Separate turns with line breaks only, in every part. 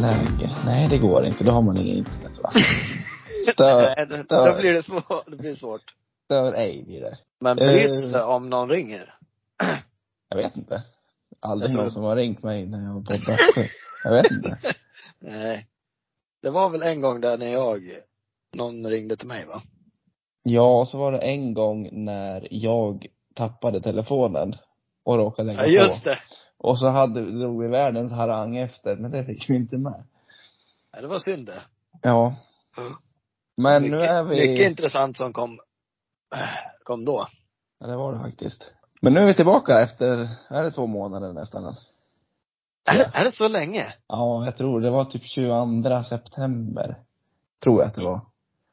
Läge? Nej, det går inte. Då har man inget internet, va?
Nej, då, då
Stör,
blir det svårt. Det blir svårt.
stör ej blir det.
Men
Eh.
bryts det om någon ringer?
Jag vet inte. Aldrig
Jag tror-
någon som har ringt mig när jag har poddat. jag vet inte.
Nej. Det var väl en gång där när jag, någon ringde till mig va?
Ja, så var det en gång när jag tappade telefonen och råkade lägga
Ja, just
på.
det.
Och så hade, drog vi världens harang efter, men det fick vi inte med.
Ja, det var synd det.
Ja.
Mm.
Men
mycket,
nu är vi...
Mycket intressant som kom, äh, kom då.
Ja, det var det faktiskt. Men nu är vi tillbaka efter, är det två månader nästan?
Är, det- är det så länge?
Ja, jag tror det var typ 22 september. Tror jag att det var.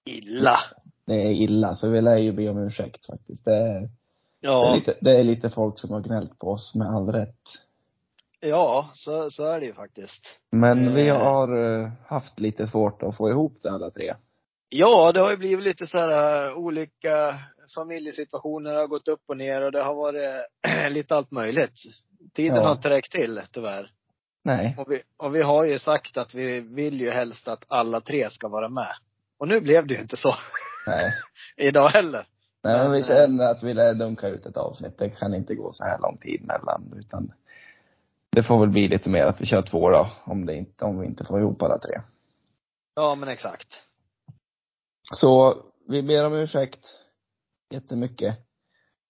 Illa.
Det är illa, så vi lär ju be om ursäkt faktiskt. Det är, det är,
Ja.
lite, det är lite folk som har gnällt på oss med all rätt.
Ja, så, så är det ju faktiskt.
Men vi
Eh.
har eh, haft lite svårt att få ihop det alla tre.
Ja, det har ju blivit lite så här äh, olika familjesituationer har gått upp och ner och det har varit eh, lite allt möjligt. Tiden
Ja.
har inte räckt till tyvärr.
Nej.
Och vi, och vi har ju sagt att vi vill ju helst att alla tre ska vara med. Och nu blev det ju inte så
Nej.
idag heller.
Nej, men vi
Men,
känner att vi lär dunka ut ett avsnitt. Det kan inte gå så här lång tid mellan, utan det får väl bli lite mer att vi kör två då, om, det inte, om vi inte får ihop alla tre.
Ja, men exakt.
Så vi ber om ursäkt jättemycket.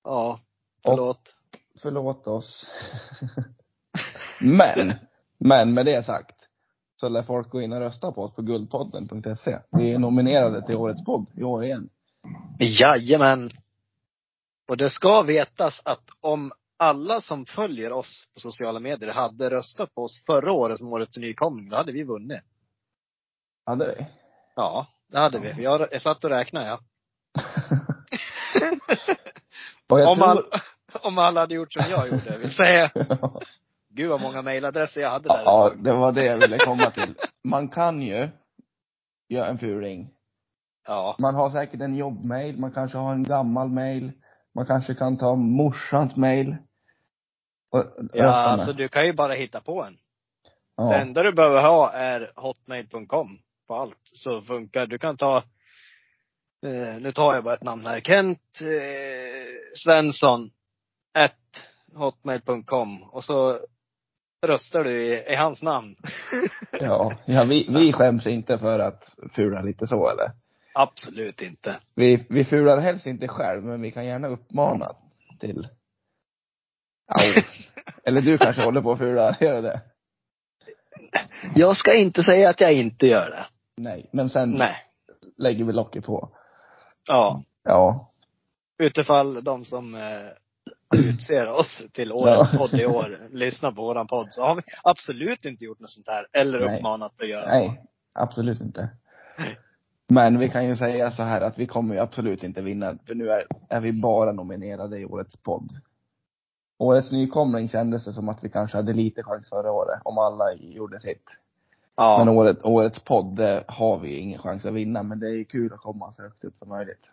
Ja, förlåt.
Förlåt oss. men, men med det sagt så lär folk gå in och rösta på oss på guldpodden.se. Vi är nominerade till årets podd i år igen.
Jajamän. Och det ska vetas att om alla som följer oss på sociala medier hade röstat på oss förra året som årets nykomling, då hade vi vunnit.
Ja, det är vi.
Ja, det hade vi. Jag, jag satt och räknade, ja.
Och jag
Om,
tror...
all, om alla hade gjort som jag gjorde, vill säga. Gud vad många mejladresser jag hade där.
ja, det var det jag ville komma till. Man kan ju göra en furing.
Ja,
Man har säkert en jobbmail, man kanske har en gammal mail. Man kanske kan ta morsans mail. Och
ja
rösta med.
alltså du kan ju bara hitta på en.
Ja.
Det enda du behöver ha är hotmail.com på allt, så funkar Du kan ta, eh, nu tar jag bara ett namn här, Kent eh, Svensson, at hotmail.com och så röstar du i, i hans namn.
Ja, ja vi, vi skäms inte för att fula lite så eller?
Absolut inte.
Vi, vi fular helst inte själv, men vi kan gärna uppmana till Au. Eller du kanske håller på att fula, gör du det?
Jag ska inte säga att jag inte gör det.
Nej, men sen
Nej.
lägger vi locket på.
Ja,
Ja.
utifall de som eh, utser oss till årets
Ja.
podd i år lyssnar på våran podd så har vi absolut inte gjort något sånt här eller
Nej.
uppmanat att göra så.
Nej, absolut inte. Men vi kan ju säga så här att vi kommer ju absolut inte vinna, för nu är, är vi bara nominerade i årets podd. Årets nykomling kändes det som att vi kanske hade lite chans förra året, om alla gjorde sitt. Men
Ja,
året, årets podd det har vi ingen chans att vinna, men det är ju kul att komma så högt upp som möjligt.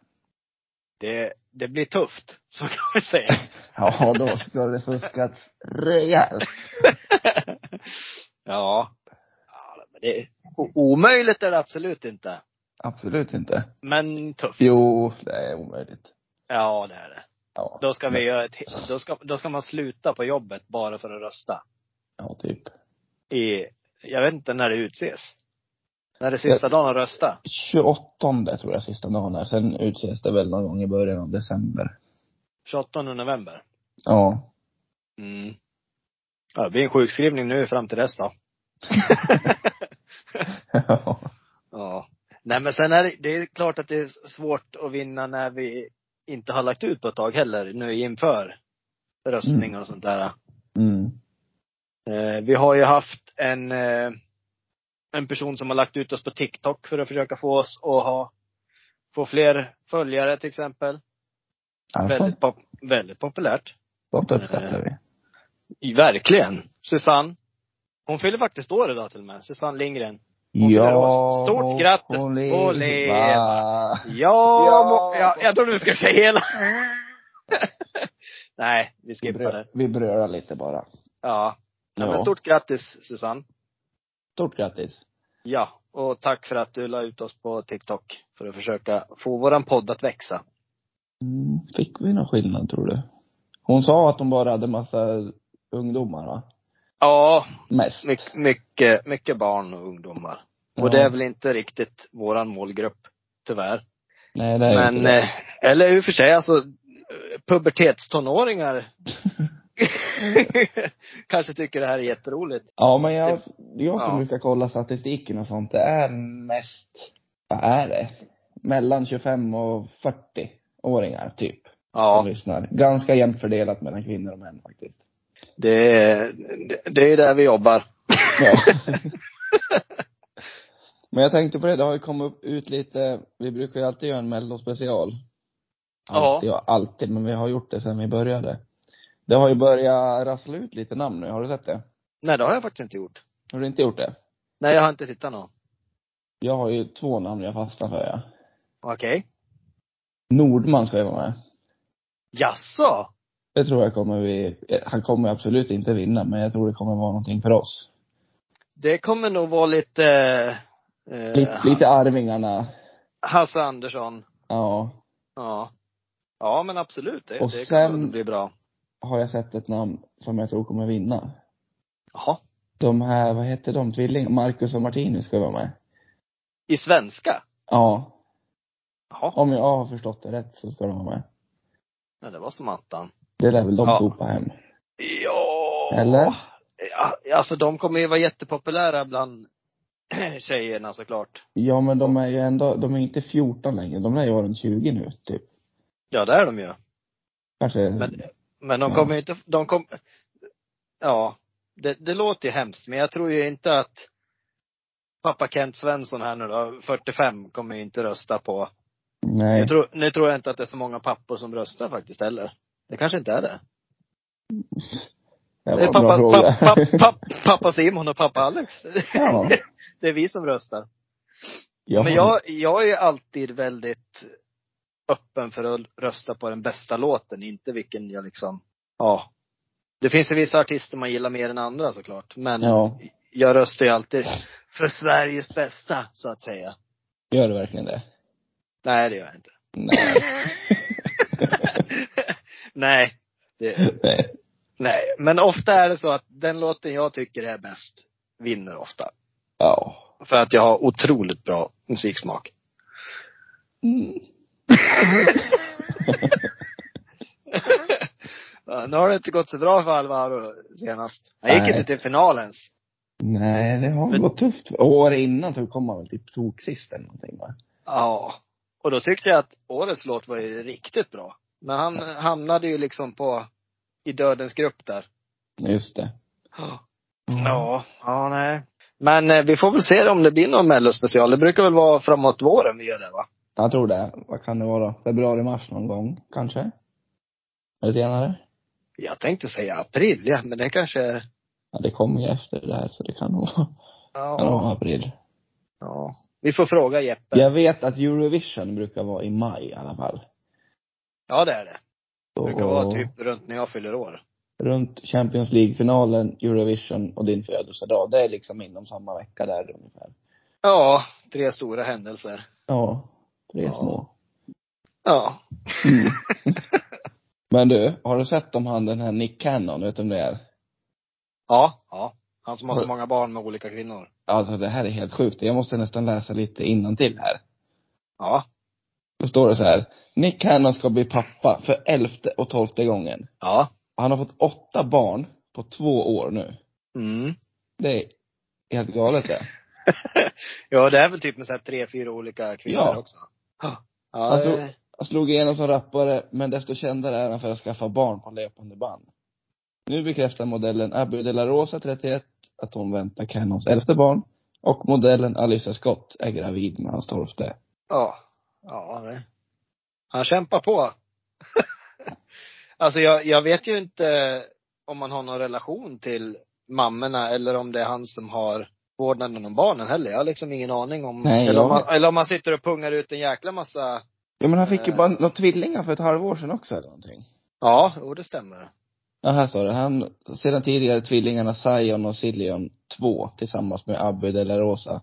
det, det blir tufft, så kan vi säga.
Ja, då ska det fuskas rejält.
ja. ja men det, o- omöjligt är det absolut inte.
Absolut inte.
Men tufft.
Jo, det är omöjligt.
Ja, det är det.
Ja.
Då ska vi
Men-
göra ett, då ska, då ska man sluta på jobbet bara för att rösta.
Ja, typ.
i, jag vet inte när det utses. När det är sista dagen att rösta.
28 tror jag sista dagen är. Sen utses det väl någon gång i början av december.
28 november.
Ja.
Mm. Ja, det blir en sjukskrivning nu fram till dess då.
ja.
Ja. Nej men sen är det, det är klart att det är svårt att vinna när vi inte har lagt ut på ett tag heller, nu inför röstningar och sånt där.
Mm.
Eh, vi har ju haft en, eh, en person som har lagt ut oss på TikTok för att försöka få oss att ha, få fler följare till exempel.
Alltså,
Väldigt, pop, väldigt populärt.
gott uppskattar vi.
I- Verkligen. Susanne. Hon fyller faktiskt år idag till och med. Susanne Lindgren. Hon fyller år. Stort
må
grattis.
hon
Må leva.
leva.
Ja,
Ja.
må- ja jag trodde vi skulle säga hela. Nej, vi
Vi
skippar
brö-
det.
vi brölar lite bara.
Ja. ja. Men
Ja.
stort grattis Susanne.
Stort grattis.
Ja, och tack för att du la ut oss på TikTok för att försöka få våran podd att växa.
Mm, fick vi någon skillnad tror du? Hon sa att hon bara hade massa ungdomar va?
Ja,
Mest.
my, mycket, mycket barn och ungdomar. Och
Ja.
det är väl inte riktigt våran målgrupp, tyvärr.
Nej det är
Men,
inte det.
eh, eller i och för sig, alltså eh, pubertetstonåringar kanske tycker det här är jätteroligt.
Ja men jag, jag som
Ja.
brukar kolla statistiken och sånt, det är mest, vad är det? Mellan 25 och 40 åringar typ.
Ja,
Som lyssnar. Ganska jämnt fördelat mellan kvinnor och män faktiskt.
det, är- det, det är där vi jobbar.
Ja. men jag tänkte på det, det har ju kommit upp- ut lite, vi brukar ju alltid göra en mellospecial.
Ja.
Alltid och alltid, men vi har gjort det sedan vi började. Det har ju börjat rassla ut lite namn nu, har du sett det?
Nej, det har jag faktiskt inte gjort.
Har du inte gjort det?
Nej, jag har inte tittat någon.
Jag har ju två namn jag fastnar för ja.
Okej.
Nordman ska ju vara med.
Jaså?
Det tror jag kommer vi, han kommer absolut inte vinna, men jag tror det kommer vara någonting för oss.
Det kommer nog vara lite, eh,
Lite, lite Arvingarna,
Hasse Andersson.
ja.
Ja. Ja, men absolut. Det,
Och
det
sen-
kommer nog bli bra.
Har jag sett ett namn som jag tror kommer vinna.
Jaha.
De här, vad heter de, tvilling, Marcus och Martinus ska vara med.
I svenska?
Ja.
Jaha.
Om jag har förstått det rätt så ska de vara med.
Nej, det var som attan.
Det lär väl de
Ja.
sopa hem.
Ja.
Eller?
Ja, alltså de kommer ju vara jättepopulära bland tjejerna såklart.
Ja men de är ju ändå, de är inte 14 längre, de är ju runt 20 nu typ.
Ja, det är de ju.
Kanske,
Men, men
Mm. Ja.
de kommer ju inte, de kom, ja, det, det låter ju hemskt, men jag tror ju inte att pappa Kent Svensson här nu då, 45, kommer ju inte rösta på.
nej.
Nu tror, nu tror jag inte att det är så många pappor som röstar faktiskt heller. Det kanske inte är det.
det
det
var
är
en bra
Eh, pappa,
fråga.
pappa, pappa, pappa Simon och pappa Alex.
ja.
Det är vi som röstar.
Jag
Men
har-
jag, jag är alltid väldigt öppen för att rösta på den bästa låten, inte vilken jag liksom, ja. Det finns ju vissa artister man gillar mer än andra såklart, men
Ja,
jag röstar ju alltid för Sveriges bästa, så att säga.
gör du verkligen det?
Nej, det gör jag inte.
Nej.
nej, det,
Nej.
nej. Men ofta är det så att den låten jag tycker är bäst vinner ofta.
Ja.
För att jag har otroligt bra musiksmak.
Mm.
Ja, nu har det inte gått så bra för Alvaro senast. Han gick
Nej.
inte till finalens.
Nej, det har
Men-
gått tufft. Året innan så kom han väl typ toksist eller någonting va?
Ja. Och då tyckte jag att årets låt var ju riktigt bra. Men han hamnade ju liksom på, i dödens grupp där.
Just det.
Mm. Ja, ja nej. Men eh, vi får väl se om det blir någon mellospecial. Det brukar väl vara framåt våren vi gör det va?
Jag tror det. Vad kan det vara? Februari-mars någon gång, kanske? Eller senare?
Jag tänkte säga april, ja, men det kanske är...
Ja, det kommer ju efter det här så det kan nog vara, kan nog vara
Ja.
april.
ja. Vi får fråga Jeppe.
Jag vet att Eurovision brukar vara i maj i alla fall.
Ja, det är det.
Så-
Det brukar vara typ runt när jag fyller år.
Runt Champions League-finalen, Eurovision och din födelsedag. Det är liksom inom samma vecka där ungefär.
Ja, tre stora händelser.
Ja. Tre
Ja.
små.
Ja.
Men du, har du sett om han den här Nick Cannon, vet du vem det är?
Ja. Ja. Han som har så många barn med olika kvinnor.
Alltså det här är helt sjukt. Jag måste nästan läsa lite till här.
Ja.
Då står det så här. Nick Cannon ska bli pappa för elfte och tolfte gången.
Ja.
Han har fått åtta barn på två år nu.
Mm.
Det är helt galet det.
ja, det är väl typ med så här tre, fyra olika kvinnor
Ja.
också. Ja. Ja,
Alltså-
det-
Han slog igenom som rappare, men desto kändare är han för att skaffa barn på löpande band. Nu bekräftar modellen Abby de la Rosa, 31, att hon väntar Cannons elfte barn. Och modellen Alicia Scott är gravid med hans tolfte.
Ja. Ja, det. Han kämpar på. alltså jag, jag vet ju inte om man har någon relation till mammorna eller om det är han som har vårdnaden om barnen heller. Jag har liksom ingen aning om,
Nej,
eller, om
jag-
han, eller om han sitter och pungar ut en jäkla massa,
Ja men han fick ju
Eh.
bara några tvillingar för ett halvår sedan också eller någonting.
ja, jo det stämmer.
Ja, här står det. Han, sedan tidigare tvillingarna Zion och Cillian 2 tillsammans med Abbe de la Rosa.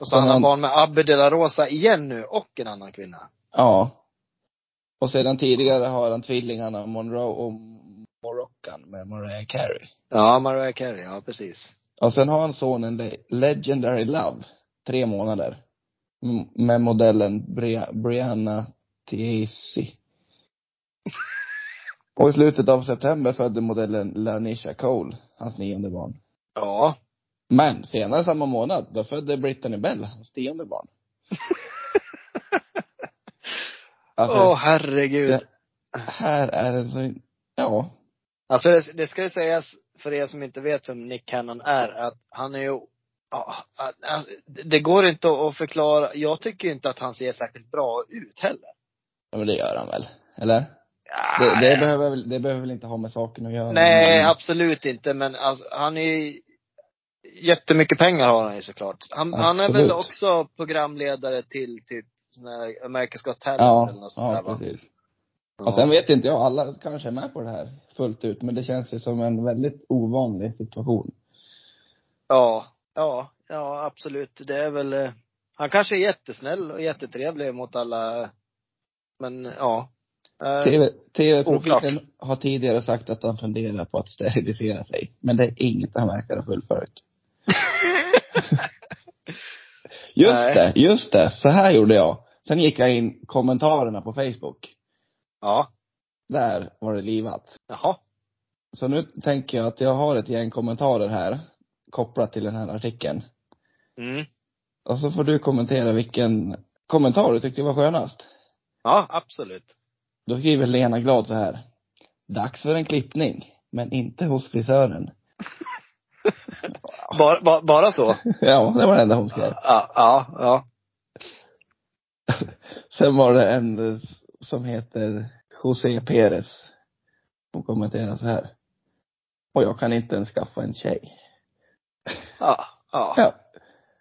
Och så han har barn med Abbe de la Rosa igen nu och en annan kvinna.
Ja. Och sedan tidigare har han tvillingarna Monroe och Moroccan med Mariah Carey.
Ja, Mariah Carey, ja precis.
Och sen har han sonen Le- Legendary Love, tre månader. M- med modellen Bri- Brianna Tiesi. Och i slutet av september födde modellen Lanisha Cole, hans nionde barn.
Ja.
Men senare samma månad, då födde Brittany Bell hans tionde barn.
Åh
Alltså,
herregud.
Ja. här är en så, ja.
Alltså det, det ska ju sägas, för er som inte vet vem Nick Cannon är, att han är ju, ja, att- att- det går inte att förklara. Jag tycker ju inte att han ser särskilt bra ut heller.
ja, men det gör han väl? Eller?
Ja,
Det, det,
Ah, ja.
behöver, väl- det behöver väl inte ha med saken att göra?
Nej,
men,
absolut inte. Men alltså, han är ju, jättemycket pengar har han ju såklart. Han, han är väl
Absolut.
också programledare till typ sån här America's Got Talent
Ja,
eller något sånt
ja
där va?
precis.
Ja.
Och sen vet inte jag, alla kanske är med på det här fullt ut, men det känns ju som en väldigt ovanlig situation.
ja, ja, ja absolut. Det är väl, eh, han kanske är jättesnäll och jättetrevlig mot alla, men ja. Eh,
TV TV-profilen
Oklart.
har tidigare sagt att han funderar på att sterilisera sig, men det är inget han verkar ha fullföljt. Just
Nej.
det, just det. Så här gjorde jag. Sen gick jag in kommentarerna på Facebook.
ja,
Där var det livat.
jaha.
Så nu tänker jag att jag har ett gäng kommentarer här, kopplat till den här artikeln.
Mm.
Och så får du kommentera vilken kommentar du tyckte var skönast.
Ja, absolut.
Då skriver Lena Glad så här. Dags för en klippning, men inte hos frisören.
Bara, bara, bara så?
ja, det var det enda hon skrev.
Ja, ja, ja.
Sen var det en eh, som heter José Perez. Hon kommenterar så här. Och jag kan inte ens skaffa en tjej.
ja, ja.
Ja,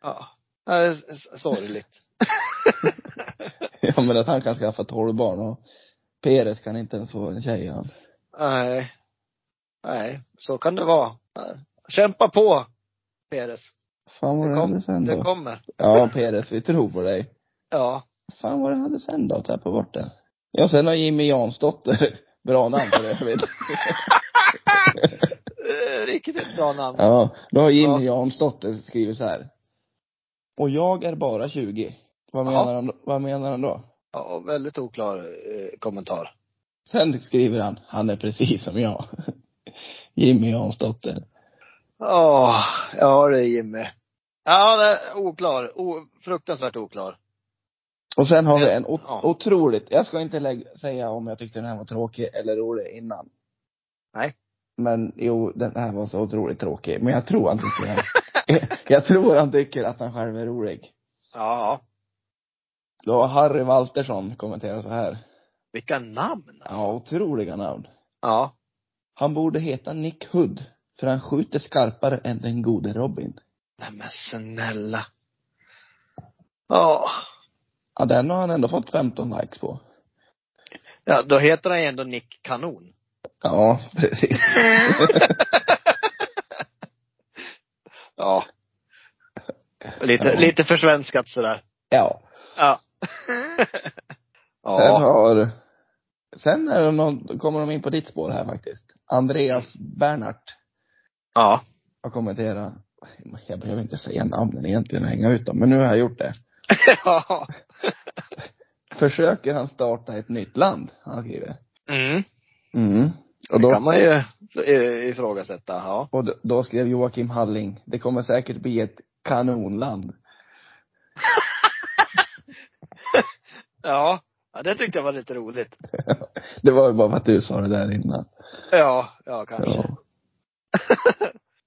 Ja. Ja, det är s- s- sorgligt.
ja men att han kan skaffa tolv barn och Perez kan inte ens få en tjej han.
Nej. Nej, så kan det vara. Kämpa på, Peres.
Fan vad
Det
det
kom-
hade sen
Det
då.
kommer.
Ja Perez, vi tror på dig.
Ja.
Fan vad det hade sen då, tappade bort det. Ja sen har Jimmy Jansdotter, bra namn för övrigt.
Eh, Riktigt bra namn.
Ja, då har Jimmy
Ja.
Jansdotter skrivit så här. Och jag är bara 20. Vad
Ja.
menar, han, vad menar han då?
Ja, väldigt oklar eh, kommentar.
Sen skriver han, han är precis som jag. Jimmy Jansdotter.
Åh, ja du Jimmy. Ja, det är oklar. O, fruktansvärt oklar.
Och sen har vi en o-
Ja.
otroligt, jag ska inte lägga, säga om jag tyckte den här var tråkig eller rolig innan.
Nej.
Men jo, den här var så otroligt tråkig. Men jag tror han tycker, han, jag tror han tycker att han själv är rolig.
Ja, ja.
Då har Harry Waltersson kommenterat så här.
Vilka namn alltså.
Ja, otroliga namn.
Ja.
Han borde heta Nick Hood, för han skjuter skarpare än den gode Robin.
Nej men snälla. Ja.
Ja, den har han ändå fått 15 likes på.
Ja, då heter han ju ändå Nick Kanon.
Ja, precis.
ja. Lite,
Ja.
lite försvenskat sådär.
Ja.
Ja.
Sen
ja.
har... Sen är det någon, kommer de in på ditt spår här faktiskt. Andreas Bernhardt
Ja.
har kommenterat. Jag behöver inte säga namnen egentligen och hänga ut dem, men nu har jag gjort det.
ja.
Försöker han starta ett nytt land? Han skriver.
Mm.
Mm. Och
Det
då,
kan man ju eh, ifrågasätta. Ja.
och då- då skrev Joakim Halling, det kommer säkert bli ett kanonland.
Ja. Ja, det tyckte jag var lite roligt.
Det var ju bara för att du sa det där innan.
Ja, ja kanske.
Ja.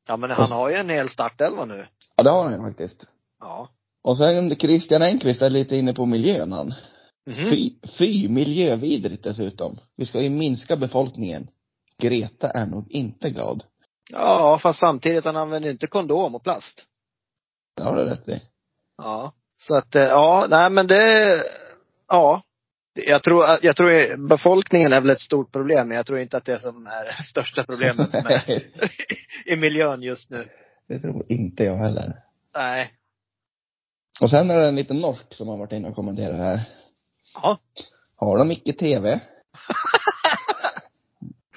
Ja, men han har ju en hel startelva nu.
ja, det har han ju faktiskt.
Ja.
Och sen Christian Engqvist är lite inne på miljön han.
Mhm.
Fy, fy miljövidrigt dessutom. Vi ska ju minska befolkningen. Greta är nog inte glad.
Ja, fast samtidigt, han använder ju inte kondom och plast.
Det har du rätt i.
Ja. Så att, eh, ja, nej men det, ja. Det- jag tror, att- jag tror befolkningen är väl ett stort problem, men jag tror inte att det är som är det största problemet med,
Nej,
i miljön just nu.
det tror inte jag heller.
Nej.
Och sen är det en liten norsk som har varit inne och kommenterat det här.
Ja.
Har de icke TV?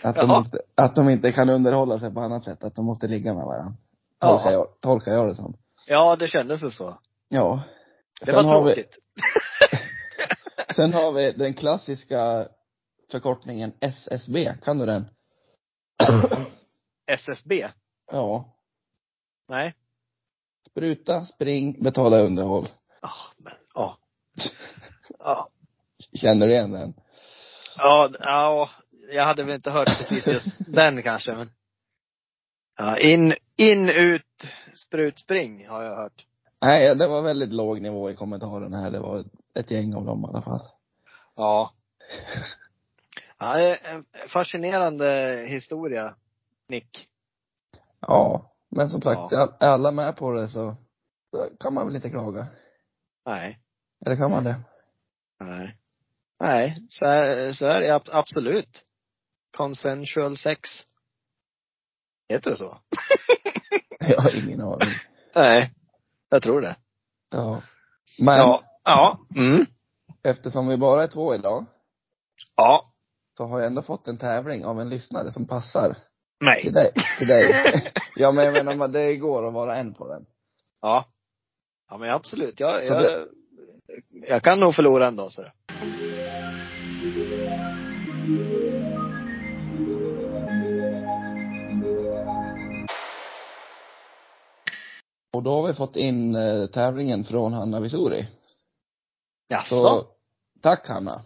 att, de
Jaha.
inte, att de inte kan underhålla sig på annat sätt, att de måste ligga med varandra. Tolkar,
Ja,
jag, tolkar jag det som.
ja det kändes väl så.
Ja.
Det
Sen
var
har vi-
tråkigt.
Sen har vi den klassiska förkortningen SSB. Kan du den?
SSB?
Ja.
Nej.
Spruta, spring, betala underhåll.
Ja, Ah, men, ja. Ja,
Känner du igen den?
ja, ja, jag hade väl inte hört precis just den kanske, men. Ja, in, in, ut, sprut, spring har jag hört.
Nej, det var väldigt låg nivå i kommentarerna här. Det var ett gäng av dem i alla fall.
Ja. ja det är en fascinerande historia, Nick.
Ja. Men som sagt, är alla med på det så, så kan man väl inte klaga.
Nej.
Eller kan man det?
Nej. Nej, så är, så är det ab- absolut. Consensual sex. Heter det så?
Jag har ingen aning.
Nej. Jag tror det.
Ja. Men
Ja. Ja. Mm.
eftersom vi bara är två idag
Ja.
så har jag ändå fått en tävling av en lyssnare som passar
Nej.
till dig. Till dig. ja men jag menar, men det går att vara en på den.
Ja. Ja men absolut. Jag,
Så
jag, jag kan nog förlora en dag så.
Och då har vi fått in eh, tävlingen från Hanna Visori. Så,
Jaså?
tack Hanna.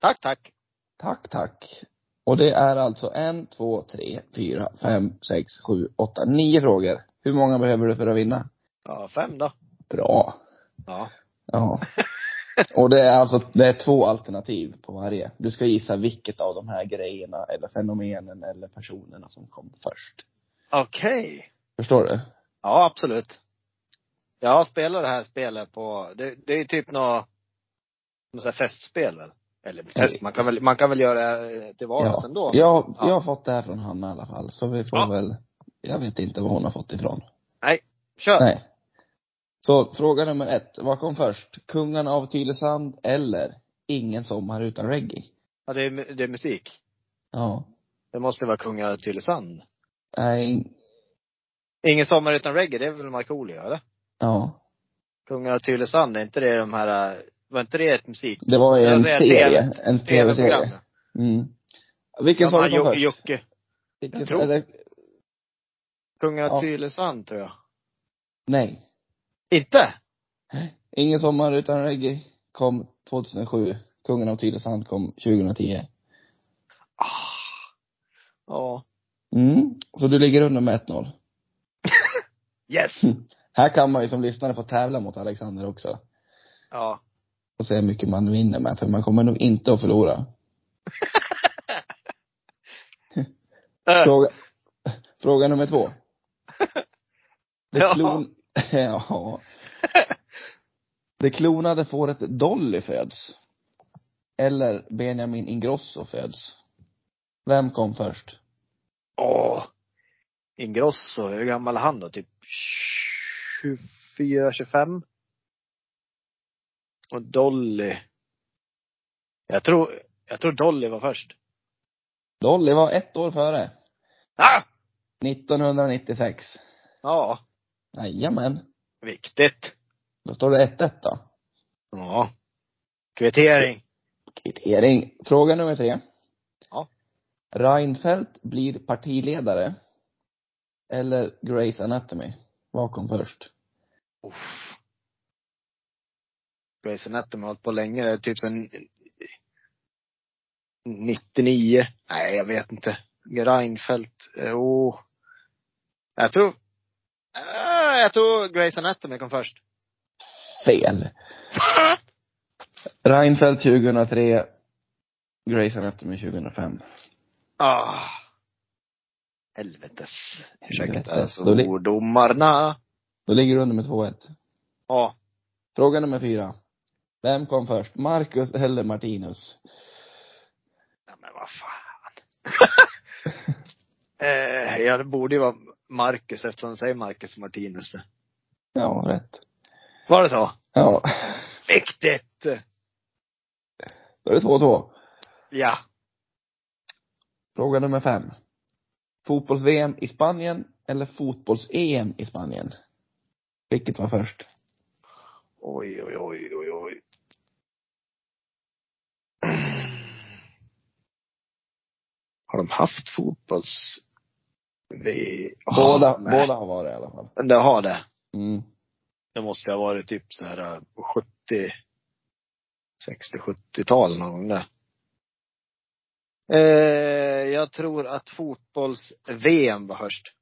Tack, tack.
Tack, tack. Och det är alltså en, två, tre, fyra, fem, sex, sju, åtta, nio frågor. Hur många behöver du för att vinna?
Ja, fem då.
Bra.
Ja.
Ja. Och det är alltså, det är två alternativ på varje. Du ska gissa vilket av de här grejerna eller fenomenen eller personerna som kom först.
Okej.
Förstår du?
Ja, absolut. Jag spelar det här spelet på, det, det är typ något, något så här festspel väl? Eller fest, man kan väl, man kan väl göra det till vardags ändå?
Jag,
Ja.
jag har fått det här från Hanna i alla fall, så vi får
Ja.
väl, jag vet inte var hon har fått ifrån.
Kör!
Nej. Så fråga nummer ett, vad kom först? Kungarna av Tylösand eller Ingen sommar utan reggae?
Ja, det, är, mu- det är musik.
Ja.
Det måste vara Kungar av Tylösand.
Nej,
Ingen sommar utan reggae, det är väl Markoolio eller?
ja.
Kungar av Tylösand, är inte det de här, äh, var inte det ett musik?
Det var ju
Jag
en
säger
serie,
TV
en
TV-program?
tv-serie. Mm. Vilken sa
Ja,
du kom
Jo-
först?
Jocke.
Vilken-
jag tror-
eller-
Kungar av
Ja.
Tylösand tror jag.
Nej.
Inte?
Ingen sommar utan reggae kom 2007. Kungen av Tylösand kom 2010.
Ah. Ja.
Mm. Så du ligger under med 1-0.
Yes!
Mm. Här kan man ju som lyssnare få tävla mot Alexander också.
Ja.
Och se hur mycket man vinner med, för man kommer nog inte att förlora.
Äh.
Fråga, fråga nummer två. Det
Ja.
klon... ja. Det klonade fåret Dolly föds. Eller Benjamin Ingrosso föds. Vem kom först?
Åh! Ingrosso, hur gammal är han då? Typ 24, 25? Och Dolly. Jag tror, jag tror Dolly var först.
Dolly var ett år före.
Ah!
1996.
Ja,
Jajamän.
viktigt.
Då står det 1-1 då.
Ja. Kvittering.
Kvittering. Fråga nummer tre.
Ja.
Reinfeldt blir partiledare. Eller Grace Anatomy. Vad kom först?
Uff. Grace Anatomy har hållit på länge. Det är typ sen 99. Nej, jag vet inte. Reinfeldt. eh, Åh. Jag tror, äh, jag tror Grace Anatomy kom först.
Fel. Reinfeldt 2003. Grace Anatomy 2005.
Ah. Helvetes.
Helvetes,
Ursäkta
dålig.
svordomarna.
Då ligger du under med 2-1.
Ja.
Fråga nummer fyra. Vem kom först? Marcus eller Martinus?
Nej, men vad fan. eh, ja, det borde ju vara Marcus eftersom de säger Marcus och Martinus.
Ja, rätt.
Var det så?
Ja.
Viktigt!
Då är det 2-2.
Ja.
Fråga nummer fem. Fotbolls-VM i Spanien eller fotbolls-EM i Spanien? Vilket var först?
Oj, oj, oj, oj, oj. Har de haft fotbolls... Vi...
Båda,
Ah, nej.
båda har varit i alla fall.
Men Det har det.
Mm.
Det måste ha varit typ så här eh, 70, 60-70-tal någon gång där. Eh, jag tror att fotbolls-VM var först.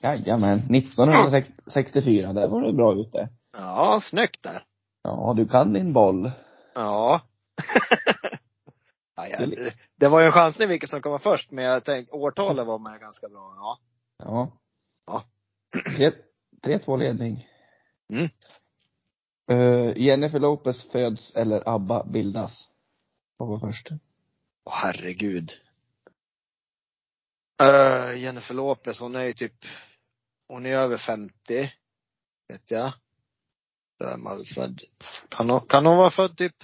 Jajamän. 1964, där var du bra ute.
Ja, snyggt där.
Ja, du kan din boll.
Ja. ja, ja. det- Det var ju en chansning vilket som kom vara först, men jag tänkte årtalet var med ganska bra. Ja.
Ja.
Ja.
3-2 ledning.
Mm.
Eh, Jennifer Lopez föds eller ABBA bildas? Vad var först?
Åh, herregud. Eh, Jennifer Lopez, hon är ju typ, hon är över 50. Vet jag. Då är man väl född. Kan hon, kan hon vara född typ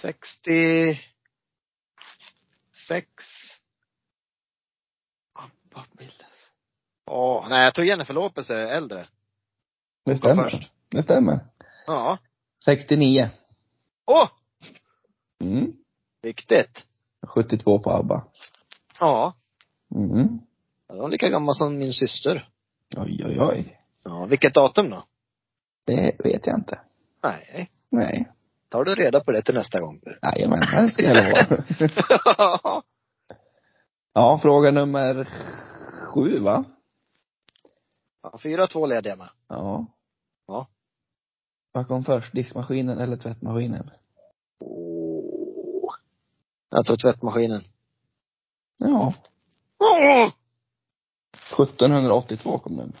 60, 6? Vad bildas? Åh, nej jag tror Jennifer Lopez är äldre.
Det
Kom
stämmer.
först.
Det stämmer.
Ja.
69.
Åh!
Mm.
Viktigt.
72 på ABBA.
Ja.
Mm.
De är lika gammal som min syster.
Oj, oj, oj.
Ja, vilket datum då?
Det vet jag inte.
Nej.
Nej.
Tar du reda på det till nästa gång?
Jajamän, det ska jag lova. ja, fråga nummer sju, va?
ja, fyra två leder jag med.
Ja.
Ja.
Vad kom först, diskmaskinen eller tvättmaskinen?
Åh. Jag tog tvättmaskinen.
Ja.
Åh!
1782 kom den.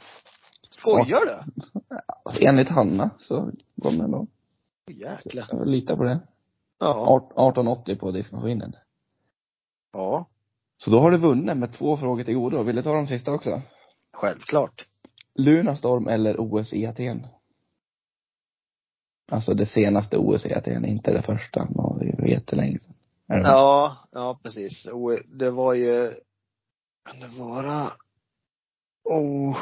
Skojar du?
Enligt Hanna så kom den då.
Åh, Jäklar.
Jag vill lita på det.
Ja.
1880 på diskmaskinen.
Ja.
Så då har du vunnit med två frågor till godo. Vill du ta de sista också?
Självklart.
Lunarstorm eller OS i Aten? Alltså det senaste OS i Aten, inte det första. Man det var jättelänge sedan. Är det?
Ja, ja precis. Och det var ju, kan det vara, oh.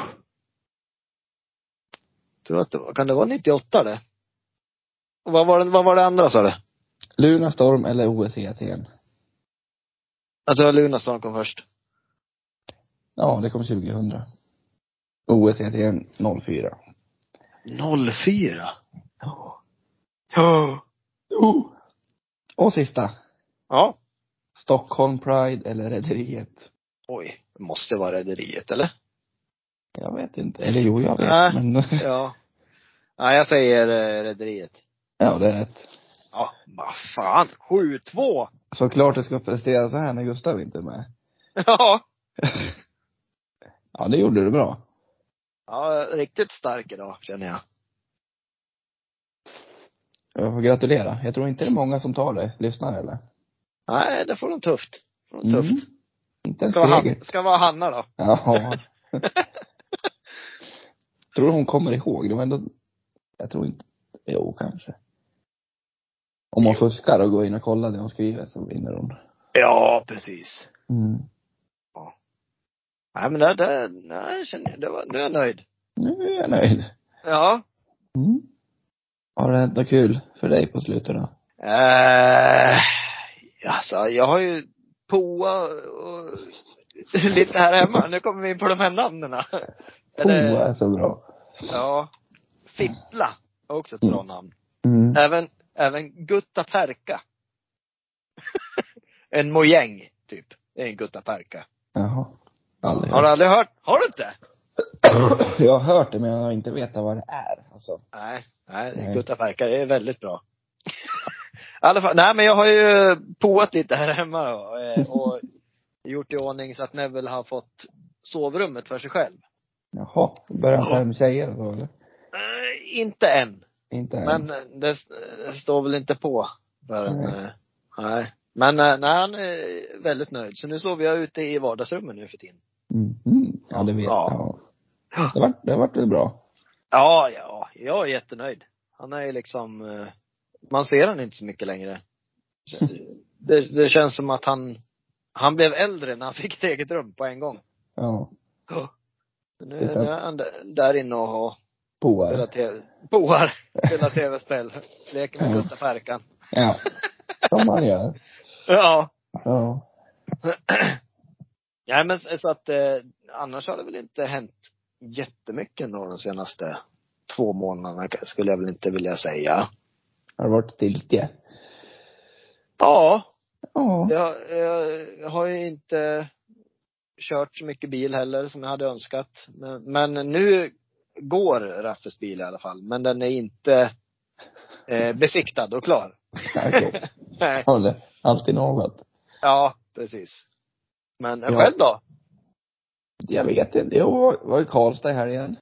Tror att det var, kan det vara 98 det? Och vad var det, vad var det andra sa du?
Lunarstorm eller OS i Aten?
Att det var Lunarstorm kom först.
Ja, det kom 2000. OS i E Aten 04.
04? Oh.
Ja.
Ja.
Oh. Och sista.
Ja.
Stockholm Pride eller Rederiet?
Oj, det måste vara Rederiet eller?
Jag vet inte. Eller jo, jag vet.
Nej.
Men
Ja. Nej, jag säger eh, Rederiet.
ja, det är rätt.
Ja, vad fan. 7-2!
Såklart det ska prestera så här när Gustav inte är med.
Ja.
Ja, det gjorde du bra.
Ja, riktigt stark idag känner jag.
Jag får gratulera. Jag tror inte det är många som tar det. Lyssnar eller?
Nej, det får de tufft. Det får de tufft.
Mm. Inte ens
Ska vara, Han-
kollegor.
ska vara Hanna då.
Ja. tror du hon kommer ihåg? Det var ändå, jag tror inte, jo kanske. Om hon fuskar och går in och kollar det hon skriver så vinner hon.
Ja, precis.
Mm.
Nej men det, det, nej, jag känner det var, nu är jag nöjd.
Nu är jag nöjd.
Ja.
Mm. Har det hänt något kul för dig på slutet då?
Eh, alltså, jag har ju poa och lite här hemma. Nu kommer vi in på de här namnen. Eller-
Oh, är så bra.
Ja. Fippla är också ett bra namn.
Mm.
Även, även Gutta Perka. en mojäng, typ. Det är en Gutta Perka.
Jaha. Aldrig.
Har du aldrig hört? Har du inte?
Jag har hört det men jag har inte vetat vad det är. Alltså.
Nej, nej,
Nej.
Gutta Perka, det är väldigt bra. I alla fall, nej men jag har ju poat lite här hemma då, eh, och gjort i ordning så att Neville har fått sovrummet för sig själv.
Jaha. Börjar han ta hem tjejer och så eller?
Eh, inte än.
Inte än.
Men eh, det eh, står väl inte på förrän,
Nej.
nej. nej. Men eh, nej, han är väldigt nöjd. Så nu sover jag ute i vardagsrummet nu för tiden.
Mhm. Ja, det vet jag.
Ja.
Ja. Det vart, det vart väl bra.
Ja, ja, jag är jättenöjd. Han är ju liksom, eh, man ser han inte så mycket längre. Det, det känns som att han, han blev äldre när han fick ett eget rum på en gång.
Ja.
Nu,
Det är
nu är han där- där inne och har
Boar.
spelat tv, boar, spelar tv-spel, leker med
Ja.
Gutta Perkan.
Ja. Som man gör.
Ja.
Ja.
Nej men så så att, eh, annars har det väl inte hänt jättemycket ändå de senaste två månaderna skulle jag väl inte vilja säga.
Har det varit stiltje?
Ja,
Ja.
Jag, jag har ju inte kört så mycket bil heller som jag hade önskat. Men, men nu går Raffes bil i alla fall. Men den är inte eh, besiktad och klar.
Okej.
Nej.
Håller. Alltid något.
Ja, precis. Men eh,
Ja.
själv då?
Jag vet inte. Jag var i Karlstad här igen.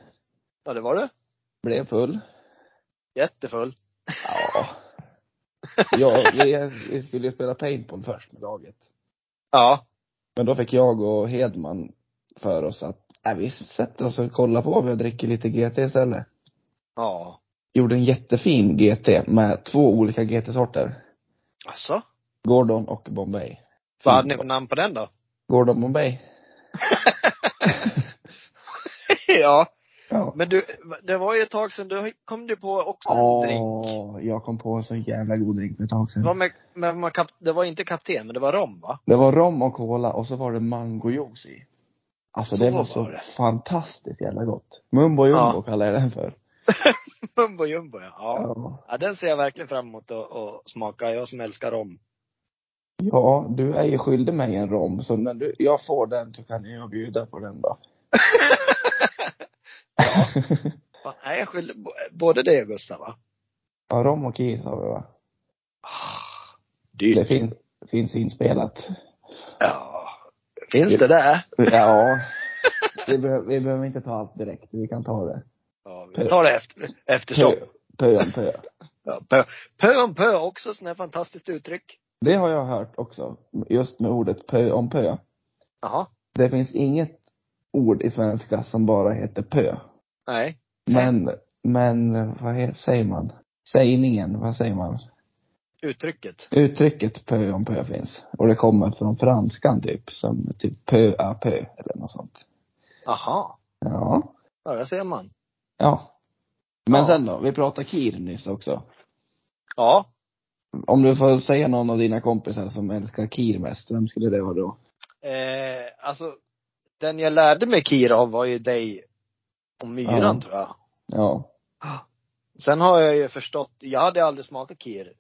Ja, det var du.
Blev full.
Jättefull.
Ja. Jag, jag, jag skulle ju spela paintball först med laget.
Ja.
Men då fick jag och Hedman för oss att, äh, vi sätter oss och kollar på vi och dricker lite GT istället.
Ja.
Gjorde en jättefin GT med två olika GT-sorter.
Alltså,
Gordon och Bombay.
Vad hade ni för namn på den då?
Gordon Bombay.
ja.
Ja.
Men du, det var ju ett tag sedan du kom du på också en drink.
Åh, jag kom på en så jävla god drink för ett tag
Det
sedan.
var, med, med, med kap, det var inte kapten, men det var rom va?
Det var rom och cola och så var det mangojuice i. Alltså
Så
det var
var
så
det.
fantastiskt jävla gott. Mumbo jumbo
Ja.
kallar jag den för.
Mumbo jumbo ja. ja.
Ja.
Ja, den ser jag verkligen fram emot att, att smaka. Jag som älskar rom.
ja, du är ju skyldig mig en rom, så när du, jag får den så kan jag bjuda på den då.
Fan, Nej, jag skyller bo- både dig och Gustav va?
ja, rom och kis har vi va?
Ah,
Det
Dyrt.
finns, finns inspelat.
Ja. Finns det där?
Ja. Vi, behö- vi behöver inte ta allt direkt, vi kan ta det.
Ja, vi tar det efter, eftersom.
Pö, pö om pö.
Ja, pö. pö om pö också, sådant här fantastiskt uttryck.
Det har jag hört också, just med ordet pö om pö.
Jaha.
Det finns inget ord i svenska som bara heter pö.
Nej.
Men, men vad he- säger man? Sägningen, vad säger man?
Uttrycket.
Uttrycket pö om pö finns. Och det kommer från franskan typ, som typ pö à pö eller något sånt.
Jaha.
Ja.
Ja, där ser man.
Ja. Men
Ja.
sen då, vi pratade kir nyss också.
Ja.
Om du får säga någon av dina kompisar som älskar kir mest, vem skulle det vara då?
Eh, alltså, den jag lärde mig Kira av var ju dig och
Ja.
myran tror jag.
Ja.
Sen har jag ju förstått, jag hade aldrig smakat kir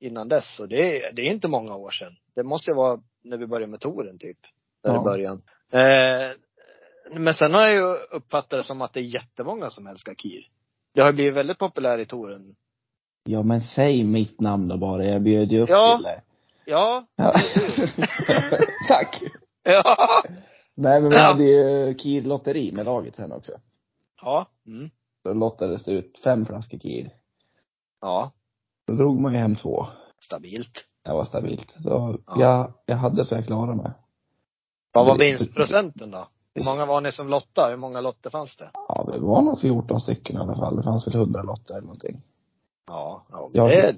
innan dess och det, är- det är inte många år sedan. Det måste ju vara när vi började med touren typ. Där
Ja.
i början. Eh, men sen har jag ju uppfattat det som att det är jättemånga som älskar kir. Det har ju blivit väldigt populär i touren.
Ja men säg mitt namn då bara, jag bjöd ju upp
Ja.
till det.
Ja.
Ja. Tack.
Ja.
Nej men vi
Ja.
hade ju kirlotteri med laget sen också.
Ja. Mm.
Då lottades det ut fem flaskor kir.
Ja.
Då drog man ju hem två.
Stabilt.
Det var stabilt. Så
Ja.
jag, jag hade så jag klarade mig.
Vad var vinstprocenten då? Hur många var ni som lottade? Hur många lotter fanns det?
Ja, det var nog 14 stycken i alla fall. Det fanns väl 100 lotter eller någonting.
Ja. ja men
Jag-
det är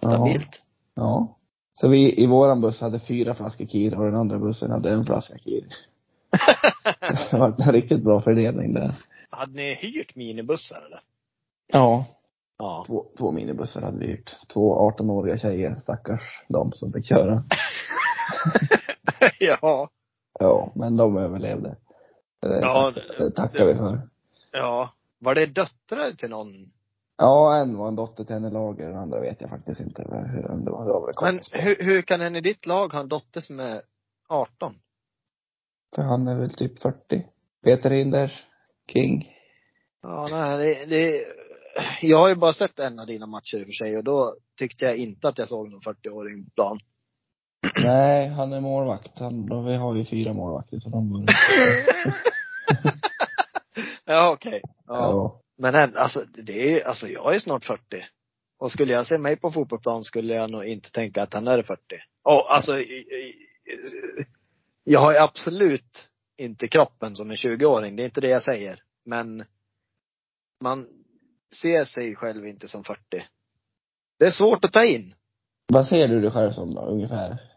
Ja.
stabilt.
Ja. Så vi i våran buss hade fyra flaskor kir och den andra bussen hade en flaska kir. det var en riktigt bra fördelning där.
Hade ni hyrt minibussar eller?
Ja.
Ja.
Två, två minibussar hade vi hyrt. Två 18-åriga tjejer, stackars de som fick köra.
ja.
Ja, men de överlevde. Det,
Ja,
tack,
det-
det tackar vi för.
Ja. Var det döttrar till någon?
Ja, en var en dotter till henne Lager, den andra vet jag faktiskt inte hur- om det var. Det var väl en
Men
kompis.
hur, hur kan en i ditt lag ha en dotter som är 18?
För han är väl typ 40. Peter Hinders, King.
Ja, nej, det, det, jag har ju bara sett en av dina matcher i och för sig och då tyckte jag inte att jag såg någon 40-åring på plan.
Nej, han är målvakt. Han, då, vi har ju fyra målvakter så de borde...
ja, okej. Ja.
ja.
Men än- alltså, det är, alltså jag är snart 40. Och skulle jag se mig på fotbollsplan skulle jag nog inte tänka att han är 40. Och alltså, i- i- jag har ju absolut inte kroppen som en 20-åring, det är inte det jag säger. Men man ser sig själv inte som 40. Det är svårt att ta in.
Vad ser du dig själv som då, ungefär?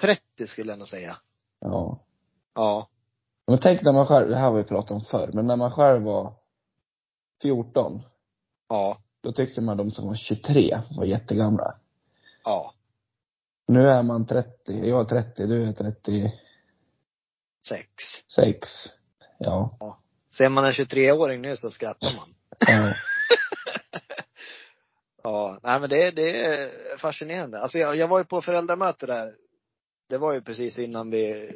30 skulle jag nog säga.
Ja.
Ja.
Men tänk när man själv, det här har vi pratat om förr, men när man själv var 14,
Ja.
då tyckte man de som var 23 var jättegamla.
Ja.
Nu är man 30, jag är 30, du är 36.
Sex.
Ja.
Ser man en 23-åring nu så skrattar man.
ja.
Ja, nej men det, det är fascinerande. Alltså jag, jag var ju på föräldramöte där. Det var ju precis innan vi,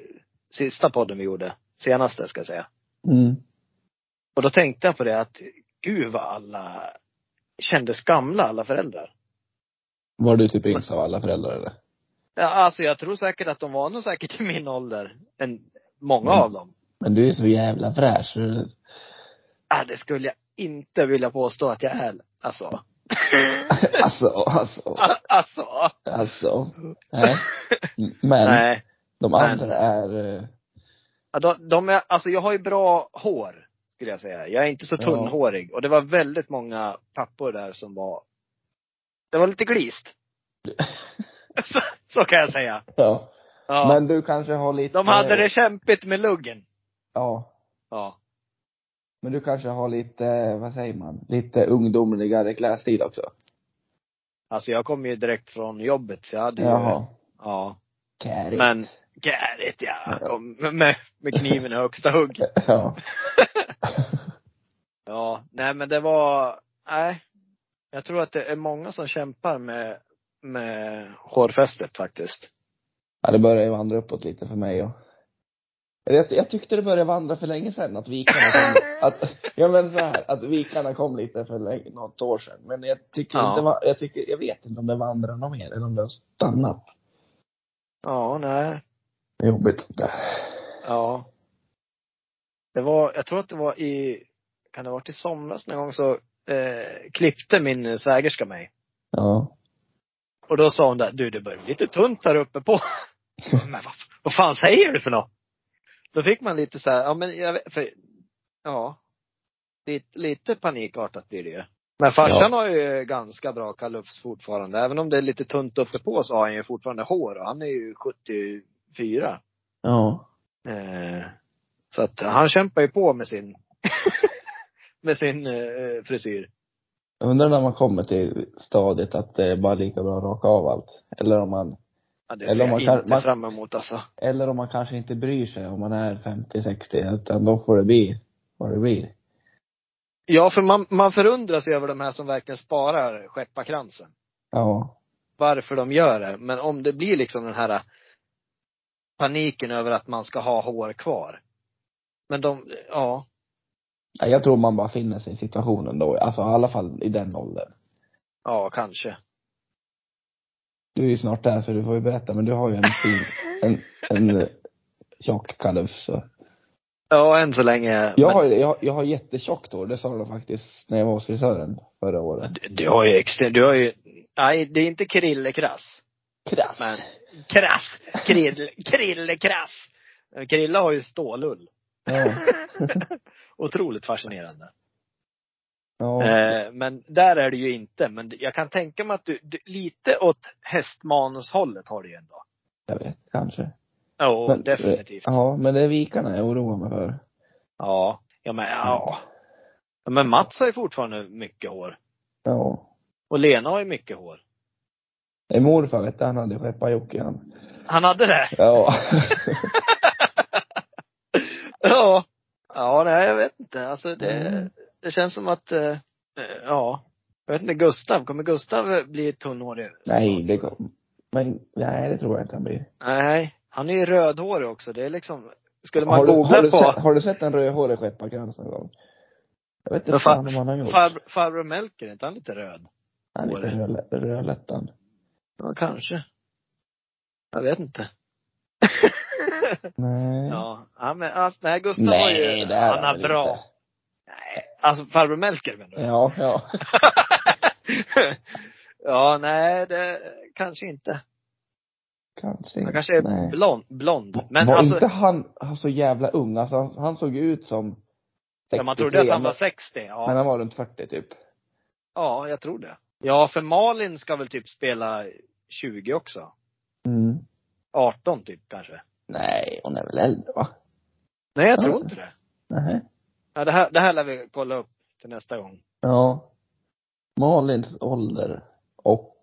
sista podden vi gjorde. Senaste ska jag säga.
Mm.
Och då tänkte jag på det att, gud vad alla kändes gamla, alla föräldrar.
Var du typ yngst av alla föräldrar eller?
Ja, alltså jag tror säkert att de var nog säkert i min ålder. En, många
Mm.
av dem.
Men du är så jävla fräsch. så-
Ah, det skulle jag inte vilja påstå att jag är. Alltså.
Alltså, alltså,
alltså.
alltså. Nej. Men
Nej.
de
men-
andra är, eh,
Ja, de, de är, alltså jag har ju bra hår, skulle jag säga. Jag är inte så
Ja.
tunnhårig. Och det var väldigt många pappor där som var, det var lite glist. så, så kan jag säga.
ja.
Ja.
Men du kanske har lite
de hade det kämpigt med luggen.
Ja.
Ja.
Men du kanske har lite, eh, vad säger man, lite ungdomligare klädstil också?
Alltså jag kom ju direkt från jobbet så jag hade ju,
Jaha.
ja.
Carry.
Men, gärigt ja. Kom med, med kniven i högsta hugg.
Ja.
Ja, nej men det var, nej. Jag tror att det är många som kämpar med, med hårfästet faktiskt.
Ja, det börjar ju vandra uppåt lite för mig och jag, jag tyckte det började vandra för länge sedan, att vikarna kom, att, ja men så här, att vikarna kom lite för länge, något år sedan. Men jag tycker
Ja.
inte, va- jag tycker, jag vet inte om det vandrar något mer, eller om det har stannat.
Ja, nej.
Det är jobbigt.
Ja. Det var, jag tror att det var i, kan det ha varit i somras någon gång så eh, klippte min svägerska mig.
Ja.
Och då sa hon där, du det börjar bli lite tunt här uppe på. Men vad, vad fan säger du för något? Då fick man lite så här, ja men jag vet, för, ja. Lite, lite panikartat blir det ju. Men farsan har ju ganska bra kalufs fortfarande. Även om det är lite tunt uppe på så har han ju fortfarande hår och han är ju 74.
Ja.
Eh, så att han kämpar ju på med sin, med sin eh, frisyr.
Jag undrar när man kommer till stadiet att det är bara lika bra att raka av allt. Eller om man,
Ja, det
Eller
ser
om man
jag
kan-
inte
man-
fram emot alltså.
eller om man kanske inte bryr sig om man är 50, 60, utan då får det bli vad det blir.
Ja, för man, man förundras ju över de här som verkligen sparar skepparkransen.
Ja.
Varför de gör det. Men om det blir liksom den här paniken över att man ska ha hår kvar. Men de, ja.
Nej, Jag tror man bara finner sig i situationen då, alltså i alla fall i den åldern.
Ja, kanske.
Du är ju snart där så du får ju berätta, men du har ju en fin, en, en eh, tjock kalufs. så.
Ja, än så länge.
Jag har,
men,
ju- jag, jag har jättetjockt hår, det sa de faktiskt när jag var hos frisören förra året.
du, du har ju extremt, du har ju, nej det är inte krillekrass.
Krass!
Men krass, krill, krillekrass. Krilla har ju stålull.
Ja.
Otroligt fascinerande.
ja.
Eh, men där är det ju inte. Men jag kan tänka mig att du, du lite åt hästmanushållet har du ju ändå.
Jag vet, kanske.
Ja,
Men,
definitivt. Ja.
Ja, men det är vikarna jag oroar mig för.
ja. men ja. Ja, Men Mats har ju fortfarande mycket hår.
Ja.
Och Lena har ju mycket hår.
Det är morfar vet du, han hade skepparjocke han.
Han hade det.
Ja.
Ja. Ja, nej jag vet inte. Alltså det,
Mm.
det känns som att, eh, eh, ja. Jag vet inte, Gustav, kommer Gustav bli tunnhårig?
nej,
snart?
det kom. Men, nej det tror jag inte han blir.
Nej. Han är ju rödhårig också. Det är liksom, skulle man
Har du,
googla
har, du
på
sett, har du sett en rödhårig skepparkrans någon gång? Jag vet inte
Men fa-
fan om han har gjort.
far, farbror Melker, är inte han lite röd?
Han är lite rödlä- rödlättan.
Ja, kanske. Jag vet inte.
Nej.
ja. ja, men alltså, nej Gustav har
Nej,
ju,
det här
han
är
har
väl
bra.
inte.
Nej, Alltså farbror Melker menar du?
Ja, ja.
ja, nej, det kanske inte.
Kanske
Han kanske är
nej.
blond, blond. Men
var
alltså,
inte han, han så jävla ung? Alltså han, han såg ju ut som 63,
ja, man trodde att han var
men-
60.
Men
Ja,
han var runt 40 typ.
ja jag tror det. Ja, för Malin ska väl typ spela 20 också.
Mm.
18 typ kanske.
Nej, hon är väl äldre va?
Nej, jag tror
Ja.
inte det.
Nej.
Ja, det, här, det här lär vi kolla upp till nästa gång.
Ja. Malins ålder och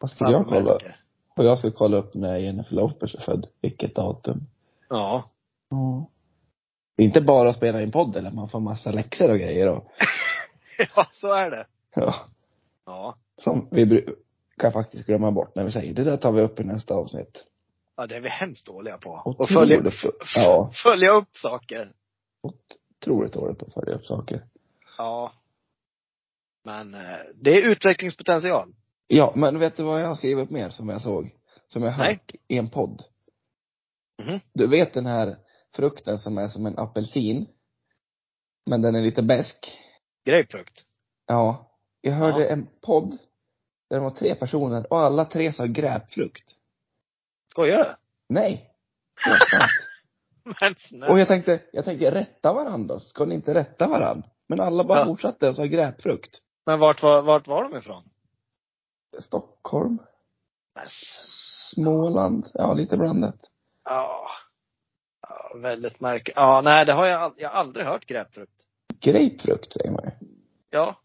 vad skulle jag
Farbror
kolla upp?
Melker.
Och jag ska kolla upp när Jennifer Lopez är född, vilket datum.
Ja.
Ja. Det är Inte bara att spela in podd eller man får massa läxor och grejer och,
ja, så är det.
ja.
Ja.
Som vi brukar faktiskt glömma bort när vi säger det där tar vi upp i nästa avsnitt.
Ja, det är vi hemskt dåliga på.
Och
Och följa,
tror det-
f-
ja.
följa upp saker.
Otroligt dåligt på att följa upp saker.
Ja. Men eh, det är utvecklingspotential.
Ja, men vet du vad jag har skrivit upp mer som jag såg? Som jag
Nej.
hört i en podd?
Mhm.
Du vet den här frukten som är som en apelsin? Men den är lite besk.
Grapefrukt.
Ja. Jag hörde
Ja.
en podd där det var tre personer och alla tre sa gräpfrukt.
Skojar du?
Nej. Det var sant.
Men snälla.
Och jag tänkte, jag tänkte rätta varandra, ska ni inte rätta varandra? Men alla bara
Ja.
fortsatte och sa gräpfrukt.
Men vart var, vart var de ifrån?
Stockholm,
Men
Småland, ja lite blandat.
Ja. ja väldigt märkligt. Ja, nej, det har jag, ald- jag har aldrig hört grapefrukt.
Grapefrukt säger man ju.
Ja.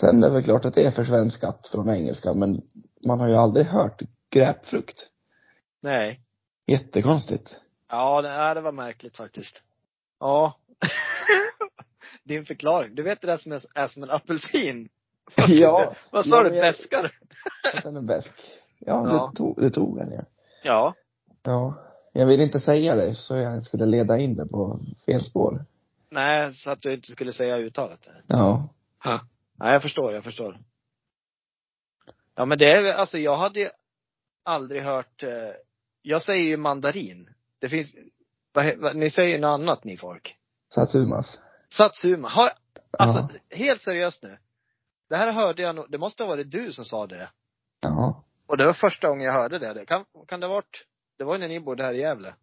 Sen är det väl klart att det är försvenskat från engelska, men man har ju aldrig hört gräpfrukt.
Nej.
Jättekonstigt.
Ja, det, nej, det var märkligt faktiskt. Ja. Din förklaring. Du vet det där som är, är som en apelsin? Vad sa
Ja.
du? Vad sa
Ja,
du?
men jag-
Beskare?
Att Den är besk. Ja,
Ja.
Det, tog, det tog den ju.
Ja.
Ja. Jag vill inte säga det så jag skulle leda in det på fel spår.
Nej, så att du inte skulle säga uttalet.
Ja.
Nej, jag förstår, jag förstår. Ja men det är väl- alltså jag hade ju aldrig hört, eh, jag säger ju mandarin. Det finns, vad, he- vad, ni säger ju något annat ni folk.
Satsumas.
Satsuma, har, alltså
Ja.
helt seriöst nu. Det här hörde jag nog, det måste ha varit du som sa det.
Ja.
Och det var första gången jag hörde det. det kan, kan det ha varit, det var ju när ni bodde här i Gävle.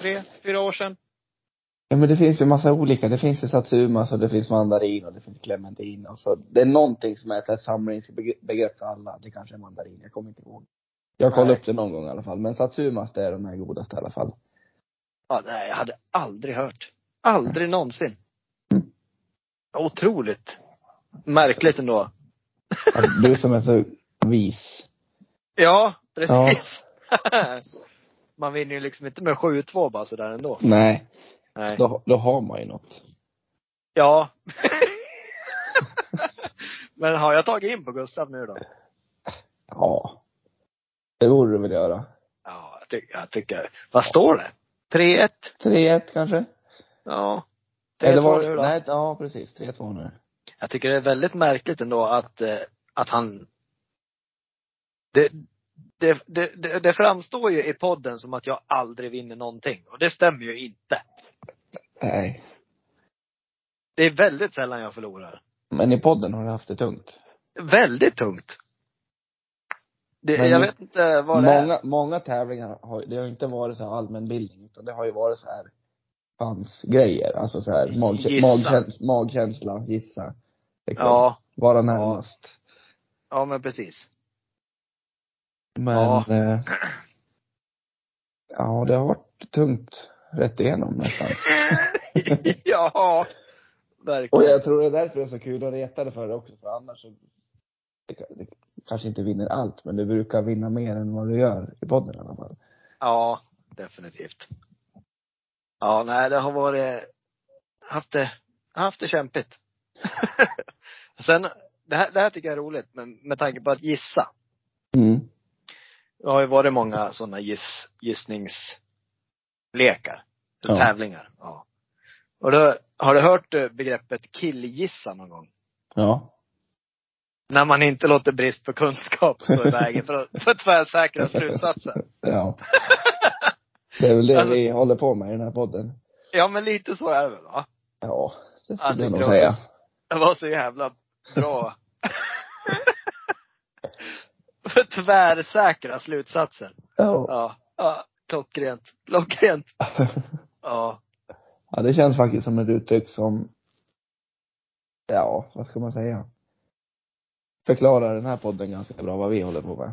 Tre, fyra år sedan.
Ja men det finns ju massa olika. Det finns ju satsumas och det finns mandarin och det finns clementin och så. Det är någonting som är ett så här samlingsbegrepp för alla. Det kanske är mandarin, jag kommer inte ihåg. Jag kollade
Nej.
upp det någon gång i alla fall. Men satsumas det är de här godaste i alla fall.
Ja, nej, jag hade aldrig hört. Aldrig någonsin.
Mm.
Otroligt märkligt ändå.
Ja, Du som är så vis.
Ja, precis. man vinner ju liksom inte med 7-2 bara sådär ändå.
Nej,
Nej.
då, då har man ju något.
Ja. Men har jag tagit in på Gustav nu då?
Ja. Det borde du väl göra.
Ja, jag, ty- jag tycker, vad står det? 3-1?
3-1 kanske?
Ja. 3-2
Eller var
nu då.
Nej, ja precis. 3-2 nu.
Jag tycker det är väldigt märkligt ändå att, eh, att han det, det, det, det, det framstår ju i podden som att jag aldrig vinner någonting. Och det stämmer ju inte.
Nej.
Det är väldigt sällan jag förlorar.
Men i podden har du haft det tungt.
Väldigt tungt. Det,
Men-
jag vet inte vad det är.
Många, många tävlingar har, det har ju inte varit så här allmänbildning, utan det har ju varit så här chansgrejer. Alltså så här magkä-
Gissa.
magkänsla, magkänsla, gissa. Liksom.
Ja,
Vara närmast.
ja men precis.
Men,
Ja.
ja. Eh, ja, det har varit tungt rätt igenom nästan.
ja,
Och
verkligen.
jag tror det är därför det är så kul att reta dig för det också, för annars så det, ka- det kanske inte vinner allt, men du brukar vinna mer än vad du gör i podden i alla fall.
Ja, definitivt. Ja, nej, det har varit, haft det, haft det kämpigt. Sen, det här, det här tycker jag är roligt, men med tanke på att gissa.
Mm.
Det har ju varit många sådana giss, gissningslekar.
Ja.
Tävlingar. Ja. Och då, har du hört eh, begreppet killgissa någon gång?
Ja.
När man inte låter brist på kunskap stå i vägen för, för tvärsäkra slutsatser.
Ja. Det är väl det
Alltså-
vi håller på med i den här podden.
Ja men lite så är det väl va?
Ja. Det skulle
Ja,
jag
det
nog
tror jag
säga.
Det var så jävla bra. Tvärsäkra slutsatser.
Ja.
Ja. ja klockrent. Klockrent. Ja.
ja, det känns faktiskt som ett uttryck som, ja, vad ska man säga? Förklarar den här podden ganska bra vad vi håller på med.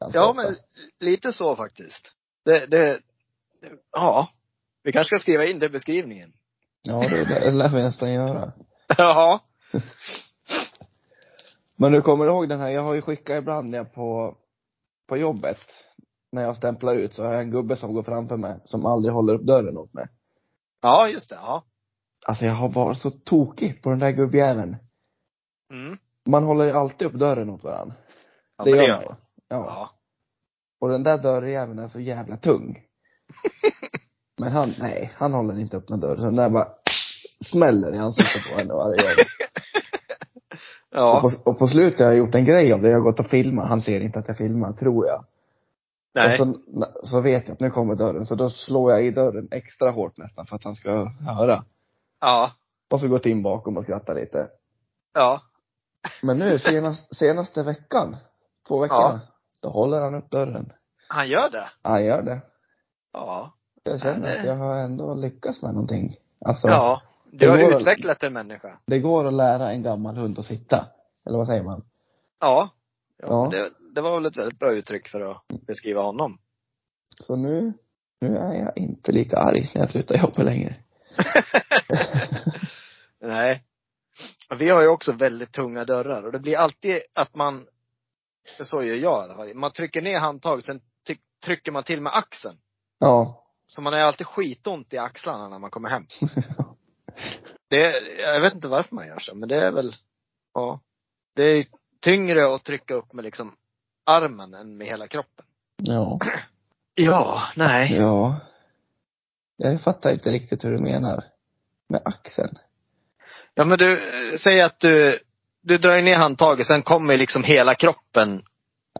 Ganska
Ja,
ofta.
men lite så faktiskt. Det, det, det- ja. Vi kanske ska skriva in det i beskrivningen.
Ja, det, det lär vi nästan göra.
Ja.
Men du kommer ihåg den här, jag har ju skickat ibland när jag på, på jobbet, när jag stämplar ut så har jag en gubbe som går framför mig, som aldrig håller upp dörren åt mig.
Ja, just det. Ja.
Alltså jag har varit så tokig på den där gubbjäveln.
Mm.
Man håller ju alltid upp dörren åt varandra.
Ja, men det gör
man ju.
man.
Ja.
Ja.
Och den där dörrjäveln är så jävla tung. Men han, nej, han håller inte upp någon dörr. Så den där bara smäller i ansiktet på henne varje gång. Och,
Ja.
på, och på slutet har jag gjort en grej av det. Jag har gått och filmat. Han ser inte att jag filmar, tror jag.
Nej.
Och
alltså-
så, så vet jag att nu kommer dörren. Så då slår jag i dörren extra hårt nästan för att han ska höra.
Ja.
Och så gått in bakom och skrattat lite.
Ja.
Men nu senast, senaste veckan, två veckor,
Ja.
då håller han upp dörren.
Han gör det.
Han gör det.
Ja.
Jag
Ja,
känner
det-
att jag har ändå lyckats med någonting. Alltså,
Ja.
Det
Du har
går att-
utvecklat en människa.
det går att lära en gammal hund att sitta. Eller vad säger man?
Ja.
Ja.
ja. Mm. men Det, det var väl ett väldigt bra uttryck för att beskriva honom.
Så nu, nu är jag inte lika arg när jag slutar jobba längre.
Nej. Vi har ju också väldigt tunga dörrar och det blir alltid att man, så gör jag i alla fall, man trycker ner handtaget, sen ty- trycker man till med axeln.
Ja.
Så man har ju alltid skitont i axlarna när man kommer hem. Det, jag vet inte varför man gör så, men det är väl, ja. Det är tyngre att trycka upp med liksom armen än med hela kroppen.
Ja.
Ja, nej.
Ja. Jag fattar inte riktigt hur du menar. Med axeln.
Ja men du, eh, säg att du, du drar ju ner handtaget, sen kommer liksom hela kroppen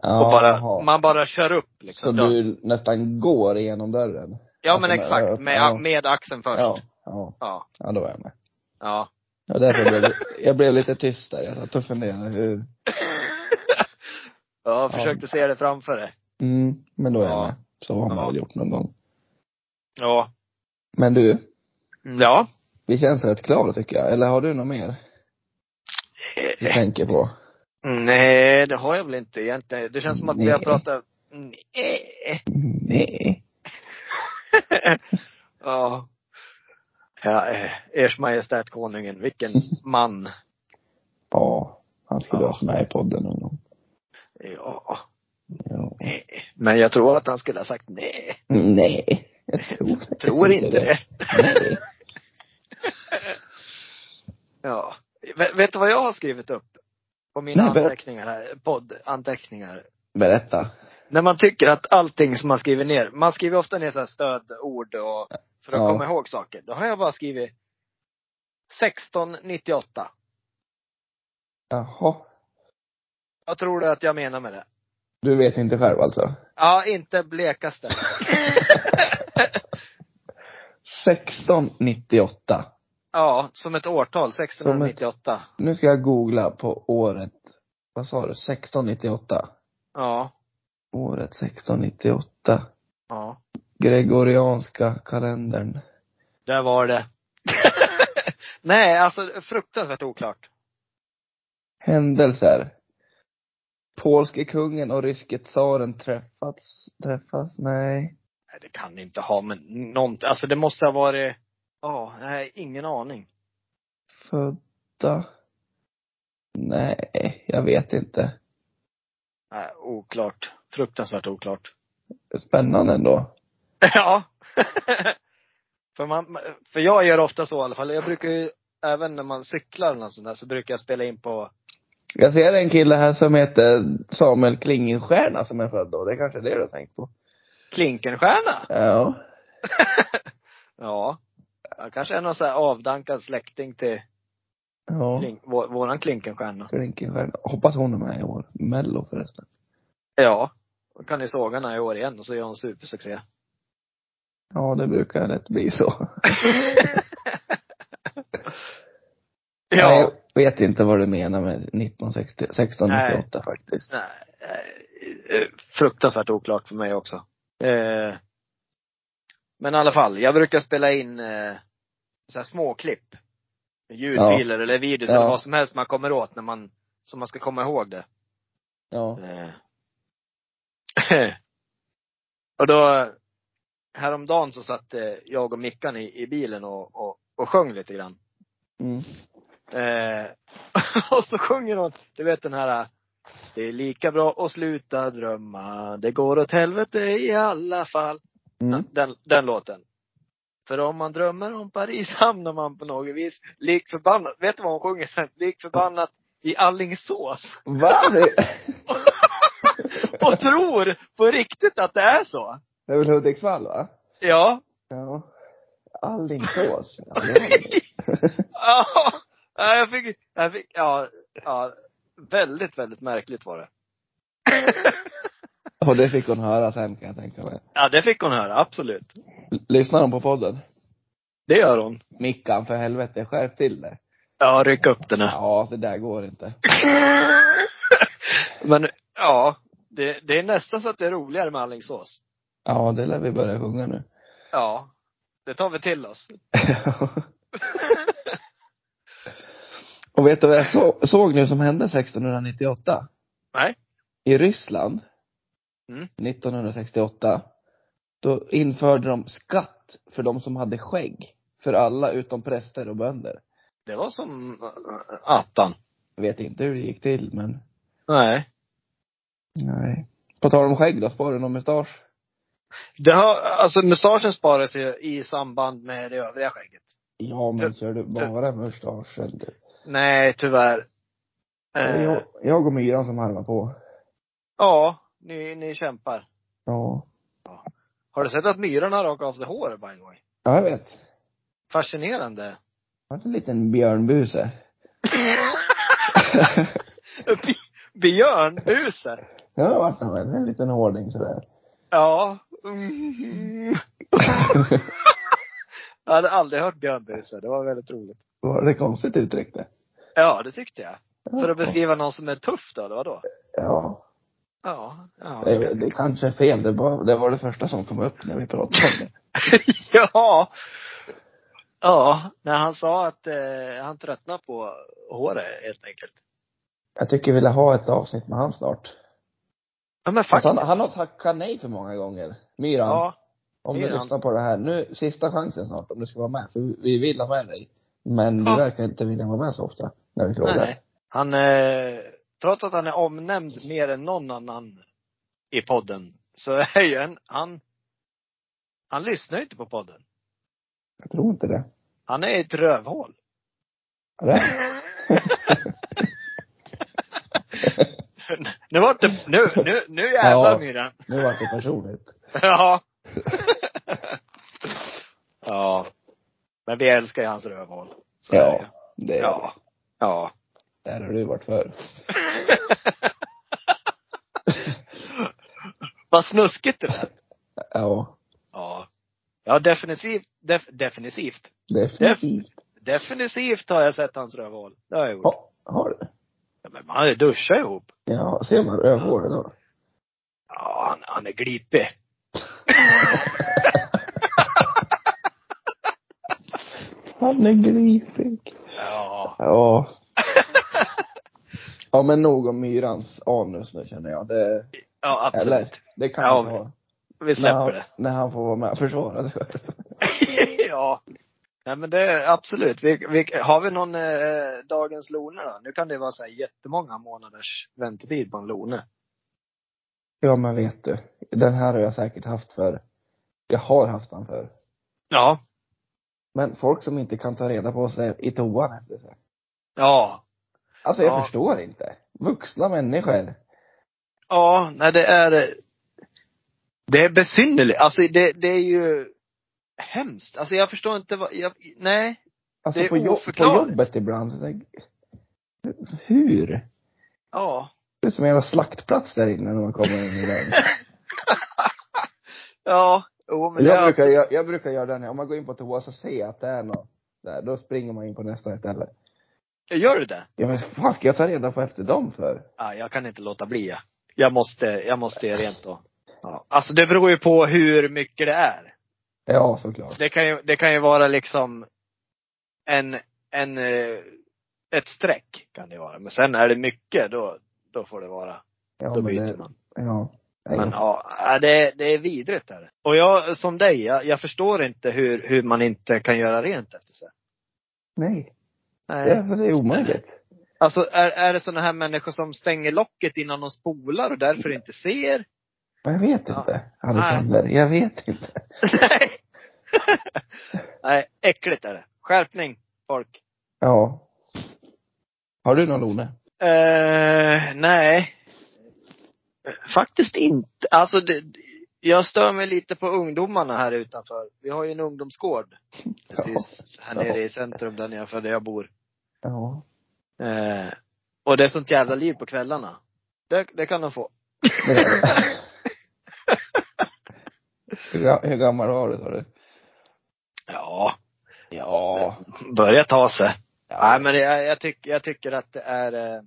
Ja,
och bara,
jaha.
man bara kör upp
Så
liksom. Då-
du nästan går igenom dörren?
Ja men
Alltså, med-
exakt,
ja.
med, med axeln först.
Ja.
Ja.
Ja.
Ja.
Ja, då var jag med.
ja.
Ja, därför blev det- jag blev lite tyst där. Jag satt och funderade hur,
jag försökte se det framför dig.
mm, men då är jag
Ja.
med. Så har man
Ja.
väl gjort någon gång.
Ja.
Men du,
Ja.
vi känns rätt klara tycker jag. Eller har du något mer du tänker på?
Nej, det har jag väl inte egentligen. Det känns som att vi har
Nej.
pratat... Nej.
Nej.
Ja. ja. eh, Ers Majestät Konungen, vilken man.
Ja, han skulle
Ja.
ha varit med i podden någon gång.
Ja.
Ja.
Men jag tror att han skulle ha sagt nej.
Nej. Jag tror, jag
Tror inte det.
Nej.
Ja. Ve- Vet du vad jag har skrivit upp? På mina
Nej, berätta.
anteckningar här, poddanteckningar.
Berätta.
När man tycker att allting som man skriver ner, man skriver ofta ner så här stödord och för att
Ja.
komma ihåg saker. Då har jag bara skrivit 1698.
Jaha.
Vad tror du att jag menar med det?
Du vet inte själv alltså?
Ja, inte blekaste.
1698.
ja, som ett årtal, 1698.
Nu ska jag googla på året, vad sa du, 1698?
Ja.
Året 1698.
Ja.
Gregorianska kalendern.
Där var det. Nej, alltså fruktansvärt oklart.
Händelser. Polske kungen och ryske tsaren träffats, träffas, nej.
Nej, det kan inte ha men nånt. alltså det måste ha varit, ja, nej, ingen aning.
Födda. Nej, jag vet inte.
Nej, oklart. Fruktansvärt oklart.
Spännande ändå.
Ja. för, man, för jag gör ofta så i alla fall. Jag brukar ju, även när man cyklar eller något sånt där, så brukar jag spela in på,
Jag ser en kille här som heter Samuel Klingenstierna som är född då. Det är kanske är det du har tänkt på?
Klinkenstierna.
Ja.
Ja. Jag kanske är någon så här avdankad släkting till
Ja.
klink, vår, våran Klinkenstierna.
Klinkenstierna. Hoppas hon är med i år. Mello förresten.
Ja. Då kan ni såga henne i år igen och så gör hon supersuccé.
Ja, det brukar lätt bli så. Nej,
Ja.
jag vet inte vad du menar med 1960, 1698 faktiskt.
Nej, eh, fruktansvärt oklart för mig också. Eh, men i alla fall, jag brukar spela in eh, så här småklipp. Ljudfiler eller videos
Ja.
eller vad som helst man kommer åt när man, så man ska komma ihåg det.
Ja.
Eh. och då, häromdagen så satt eh, jag och Mickan i, i bilen och, och, och sjöng lite grann.
Mm.
Eh, och så sjunger hon, du vet den här Det är lika bra att sluta drömma, det går åt helvete i alla fall.
Mm.
Den, den låten. För om man drömmer om Paris hamnar man på något vis lik förbannat, vet du vad hon sjunger sen? Lik förbannat i Allingsås.
Va?
Och tror på riktigt att det är så.
Det är väl Hudiksvall va?
Ja.
Ja. Alingsås. Ja, det är det.
Ja, jag fick, jag fick, ja, ja. Väldigt, väldigt märkligt var det.
Och det fick hon höra sen kan jag tänka mig.
Ja, det fick hon höra, absolut.
L- Lyssnar hon på podden?
Det gör hon.
Mickan, för helvete, skärp till dig.
Ja, ryck upp den här.
Ja, det där går inte.
Men, ja. Det, det är nästan så att det är roligare med Alingsås.
Ja, det lär vi börja sjunga nu.
Ja. Det tar vi till oss.
Och vet du vad jag så, såg nu som hände 1698?
Nej.
I Ryssland,
Mm.
1968, då införde de skatt för de som hade skägg. För alla utom präster och bönder.
Det var som äh, attan.
Jag vet inte hur det gick till, men
Nej.
nej. På tal om skägg då, sparar du någon mustasch?
Det har, alltså mustaschen sparas ju i samband med det övriga skägget.
Ja, men
Jag-
kör du bara mustaschen du?
Nej, tyvärr. Eh,
Jag, jag och myran som harvar på.
Ja, ni, ni kämpar.
Ja.
Har du sett att myran har rakat av sig hår by the way?
Ja, jag vet.
Fascinerande.
Jag har en liten björnbuse.
Bi- Björnbuse.
Ja, det vart han väl. En liten hårding sådär.
Ja. Mm. Jag hade aldrig hört björnbuse. Det var väldigt roligt.
Var det konstigt uttryckt det?
Ja, det tyckte jag. För att beskriva någon som är tuff då, eller vadå?
Ja.
Ja. Ja,
Det, det kanske är fel. Det var, det var det första som kom upp när vi pratade om det.
ja. Ja, när han sa att eh, han tröttnade på håret helt enkelt.
Jag tycker vi vill ha ett avsnitt med han snart.
Ja men
Alltså,
faktiskt.
han, han har tackat nej för många gånger. Myran,
Ja.
om du
Myran.
lyssnar på det här. Nu, sista chansen snart om du ska vara med. För vi vill ha med dig. Men
Ja.
du verkar inte vilja vara med så ofta när vi frågar.
Nej. Han, eh, trots att han är omnämnd mer än någon annan i podden, så är ju en, han, han lyssnar ju inte på podden.
Jag tror inte det.
Han är ett rövhål.
Är det?
nu vart det, nu, nu, nu jävlar
Ja.
Myran.
Nu vart det personligt.
Ja. ja. Men vi älskar ju hans rövhål. Så är det ju.
Ja. Det,
Ja. Ja.
Där har du varit för.
Vad snuskigt det lät.
Ja.
Ja. Ja, definitivt. Def, definitivt.
Definitivt.
Definitivt har jag sett hans rövhål. Det har jag gjort.
Ha, har du?
Ja, men han duschar ihop.
Ja, ser man rövhåret då?
Ja, han, han är glipig.
Han är gripig.
Ja.
Ja. Ja men nog om myrans anus nu känner jag. Det,
Ja,
eller,
absolut.
det kan
Ja,
vi ha.
Vi
När
släpper
han,
det.
när han får vara med och försvara det.
ja. Nej men det, är absolut. Vi, vi, har vi någon eh, dagens Lone då? Nu kan det vara så här jättemånga månaders väntetid på en Lone.
Ja men vet du. Den här har jag säkert haft för. Jag har haft den för.
Ja.
Men folk som inte kan ta reda på sig i toan efter sig.
Ja.
Alltså jag
Ja.
förstår inte. Vuxna människor.
Ja, nej det är Det är besynnerligt. Alltså det, det är ju hemskt. Alltså jag förstår inte vad, jag, nej.
Alltså
Det är
på, jo- på
oförklarligt.
jobbet ibland. Så tänk, hur?
Ja.
Det är som en jävla slaktplats där inne när man kommer in i den.
Ja. Jo men det
Jag
är
brukar,
absolut-
jag, jag brukar göra den, om man går in på toa så ser jag att det är något där, då springer man in på nästa ställe.
Gör du det?
Ja men vad ska jag ta reda på efter dem för?
Ja, jag kan inte låta bli. Jag, jag måste, jag måste göra rent då. Ja. Alltså det beror ju på hur mycket det är.
Ja, såklart.
Det kan ju, det kan ju vara liksom en, en, eh, ett streck kan det vara. Men sen är det mycket, då, då får det vara.
Ja,
Då
men
byter
det-
man.
Ja.
Men ja, ja, det, det är vidrigt är det. Och jag, som dig, jag, jag förstår inte hur, hur man inte kan göra rent efter sig.
Nej.
Nej.
Det, alltså, det är omöjligt.
Alltså är, är det sådana här människor som stänger locket innan de spolar och därför inte ser?
Men Jag vet
Ja.
inte, Alexander. Jag vet inte.
Nej. Nej, äckligt är det. Skärpning, folk.
Ja. Har du någon Lone?
Eh, nej. Faktiskt inte. Alltså, det, jag stör mig lite på ungdomarna här utanför. Vi har ju en ungdomsgård precis här
Ja.
nere i centrum där nere där jag bor.
Ja.
Eh, och det är sånt jävla liv på kvällarna. Det, det kan de få.
hur, ga- hur gammal var du sa du?
Ja,
Ja.
börja ta sig. Nej
ja.
men det, jag, jag, tyck, jag tycker att det är eh,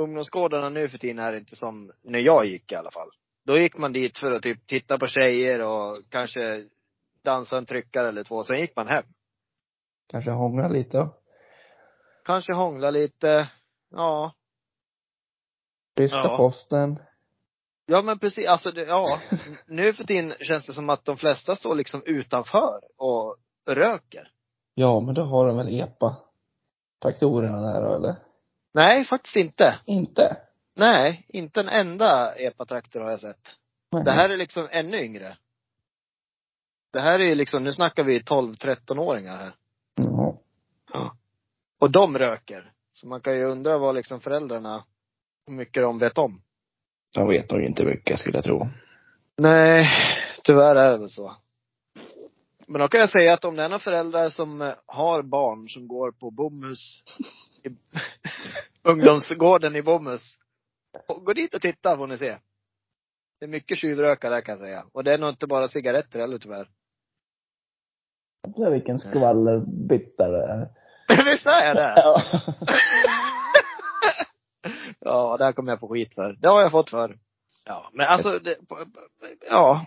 Ungdomsgårdarna nu för tiden är inte som när jag gick i alla fall. Då gick man dit för att typ titta på tjejer och kanske dansa en tryckare eller två, sen gick man hem.
Kanske hångla lite då?
Kanske hångla lite. Ja.
Ryska
Ja.
posten.
Ja men precis, alltså det, ja. N- Nu för tiden känns det som att de flesta står liksom utanför och röker.
Ja, men då har de väl EPA. Traktorerna där då, eller?
Nej, faktiskt inte.
Inte?
Nej, inte en enda epatraktor har jag sett.
Nej.
Det här är liksom ännu yngre. Det här är ju liksom, nu snackar vi 12-13-åringar här.
Ja.
Och de röker. Så man kan ju undra vad liksom föräldrarna, hur mycket de vet om.
De vet nog inte mycket skulle jag tro.
Nej, tyvärr är det väl så. Men då kan jag säga att om det är några föräldrar som eh, har barn som går på Bomhus, i, ungdomsgården i Bomhus, och gå dit och titta får ni se. Det är mycket tjuvrökare där kan jag säga. Och det är nog inte bara cigaretter heller tyvärr.
Undrar vilken skvallerbytta det är.
Visst är det?
Ja.
ja, det här kommer jag få skit för. Det har jag fått för. Ja, men alltså, det, ja.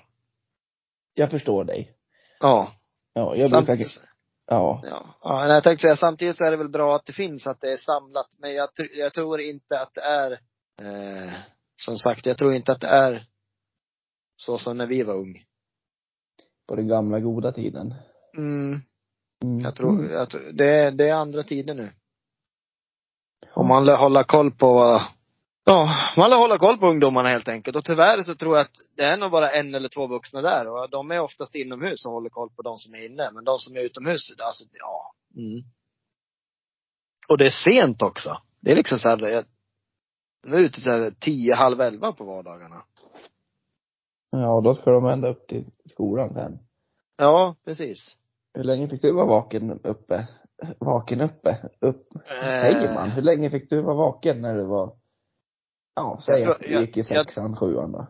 Jag förstår dig.
Ja.
Ja, jag brukar,
Samtidigt,
ja.
ja. ja nej, jag tänkte säga, samtidigt så är det väl bra att det finns, att det är samlat. Men jag, tr- jag tror inte att det är, eh, som sagt, jag tror inte att det är så som när vi var ung.
På den gamla goda tiden.
Mm,
Mm.
jag tror, jag tror det, är- det är andra tider nu. Och man lär hålla koll på vad, ja, man lär hålla koll på ungdomarna helt enkelt. Och tyvärr så tror jag att det är nog bara en eller två vuxna där. Och de är oftast inomhus och håller koll på de som är inne. Men de som är utomhus, alltså ja. Mm. Och det är sent också. Det är liksom så här, jag, nu är ute så här tio, halv elva på vardagarna.
Ja, då ska de ända upp till skolan sen.
Ja, precis.
Hur länge fick du vara vaken uppe? Vaken uppe? Upp?
Eh.
Säger man? Hur länge fick du vara vaken när du var, ja, säg
tror-
att du gick i
jag- jag-
sexan, sjuan då?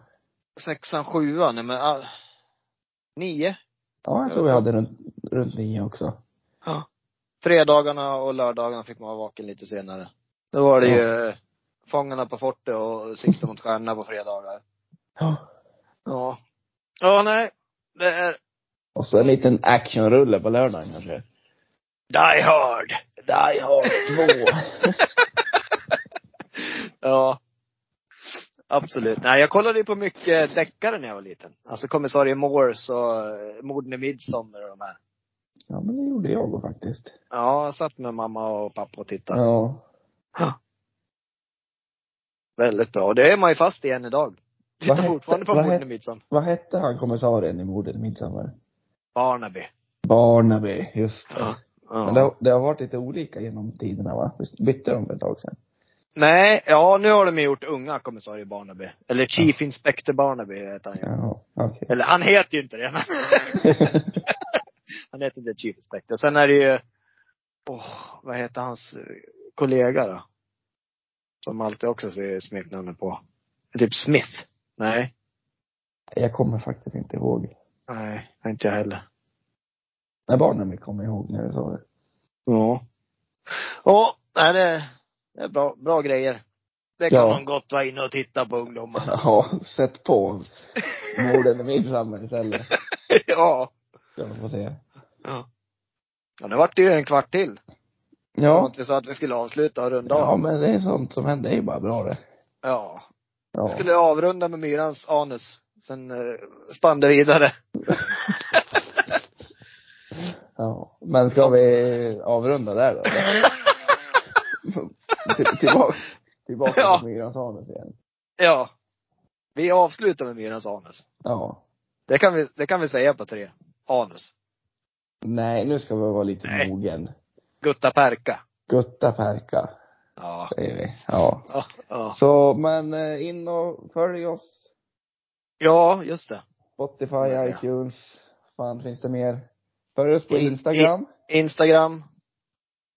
Sexan, sjuan, nej men, ah, nio.
Ja, jag tror vi hade runt, runt nio också.
Ja. Fredagarna och lördagarna fick man vara vaken lite senare. Då var det ju eh, Fångarna på fortet och Sikte mot stjärnorna på fredagar.
Ja.
Ja. Ja, nej. Det är
Och så en liten actionrulle på lördagen kanske.
Die Hard!
Die Hard 2.
Ja. Absolut. Nej, jag kollade ju på mycket deckare när jag var liten. Alltså Kommissarie Morse och eh, Morden i Midsommar och de här.
ja, men det gjorde jag faktiskt.
Ja, jag satt med mamma och pappa och tittade.
Ja.
Väldigt bra. Och det är man ju fast i än idag.
Vad
Tittar
hette-
fortfarande på
vad
Morden i
hette-
Midsommar.
Vad hette han kommissarien i mordet i Midsommar?
Barnaby.
Barnaby, just det.
Ja. Ja.
Men det, har- det har varit lite olika genom tiderna va? Visst bytte de för ett tag sedan?
Nej, ja nu har de ju gjort unga kommissarie Barnaby. Eller Chief Inspector Barnaby heter han ju.
Ja, okej.
Eller han heter ju inte det, men han heter inte Chief Inspector. Sen är det ju, åh, vad heter hans eh, kollega då? Som alltid också ser smeknamnet på. Typ Smith? Nej.
jag kommer faktiskt inte ihåg.
Nej, inte jag heller.
Nej, Barnaby kommer jag ihåg när du sa det.
Ja. Ja, nej, det, det är bra, bra grejer. Det kan
Ja.
man gott vara inne och titta på ungdomar.
Ja, sätt på morden i midsommar istället.
ja.
Ja, vi får se.
ja. Ja, nu vart det ju en kvart till.
Ja.
Vi sa att vi skulle avsluta och runda
ja,
av.
men det är sånt som händer. Det är ju bara bra det.
Ja.
Ja.
Jag skulle avrunda med myrans anus. Sen eh, spann det vidare.
ja. Men ska vi avrunda där då? Till- tillbaka tillbaka
Ja.
till myrans anus igen.
Ja. Vi avslutar med myrans anus.
Ja.
Det kan vi, det kan vi säga på tre. Anus.
Nej, nu ska vi vara lite
Nej.
mogen.
Gutta perka.
Gutta perka,
Ja.
säger vi. Ja.
Ja, ja.
Så, men eh, in och följ oss.
ja just det.
Spotify,
Ja.
iTunes. Fan, finns det mer? Följ oss på
I- i-
Instagram.
Instagram.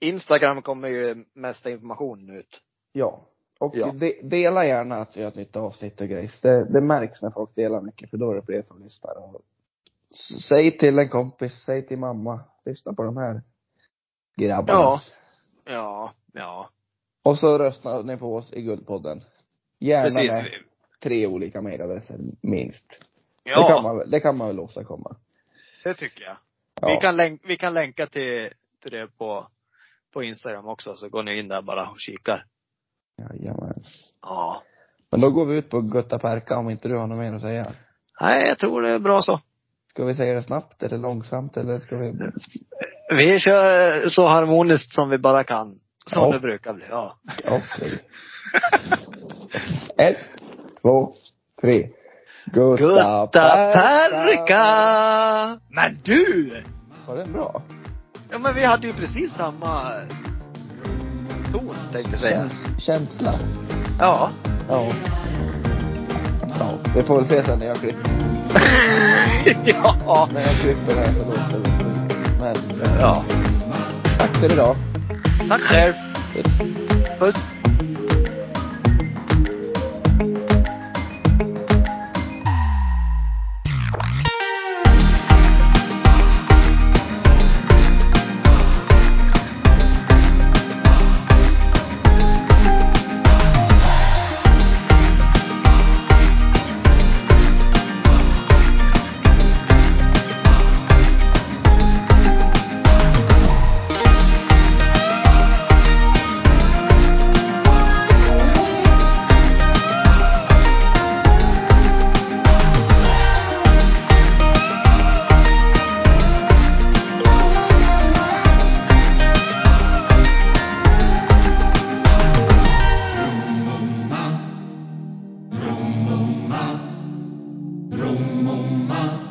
Instagram kommer ju mesta information ut.
Ja. Och
Ja.
De, dela gärna att vi har ett nytt avsnitt och grejs. Det, det märks när folk delar mycket, för då är det fler som lyssnar. Och s- säg till en kompis, säg till mamma, lyssna på de här grabbarna.
Ja. Ja, ja.
Och så röstar ni på oss i Guldpodden. Gärna
Precis.
med tre olika mejladresser, minst.
Ja,
Det, kan man, väl- det kan man väl åstadkomma.
det tycker jag.
Ja.
Vi, kan länk, vi kan länka till, till det på, på Instagram också, så går ni in där bara och kikar.
Jajamän.
Ja.
Men då går vi ut på Gutta Perka om inte du har något mer att säga.
Nej, jag tror det är bra så.
Ska vi säga det snabbt eller långsamt eller ska vi?
Vi kör så harmoniskt som vi bara kan. Som
Ja.
det brukar bli. Ja.
Okej. Ett, två, tre. Gutta,
Gutta perka! Men du!
Var den bra?
Ja men vi hade ju precis samma ton tänkte jag säga.
Känsla.
Ja.
Ja. Ja, vi får väl se sen när jag klipper.
ja.
När jag klipper det här så låter det. Men eh,
Ja.
tack för idag.
Tack själv. Puss.
Rumoma, rumoma,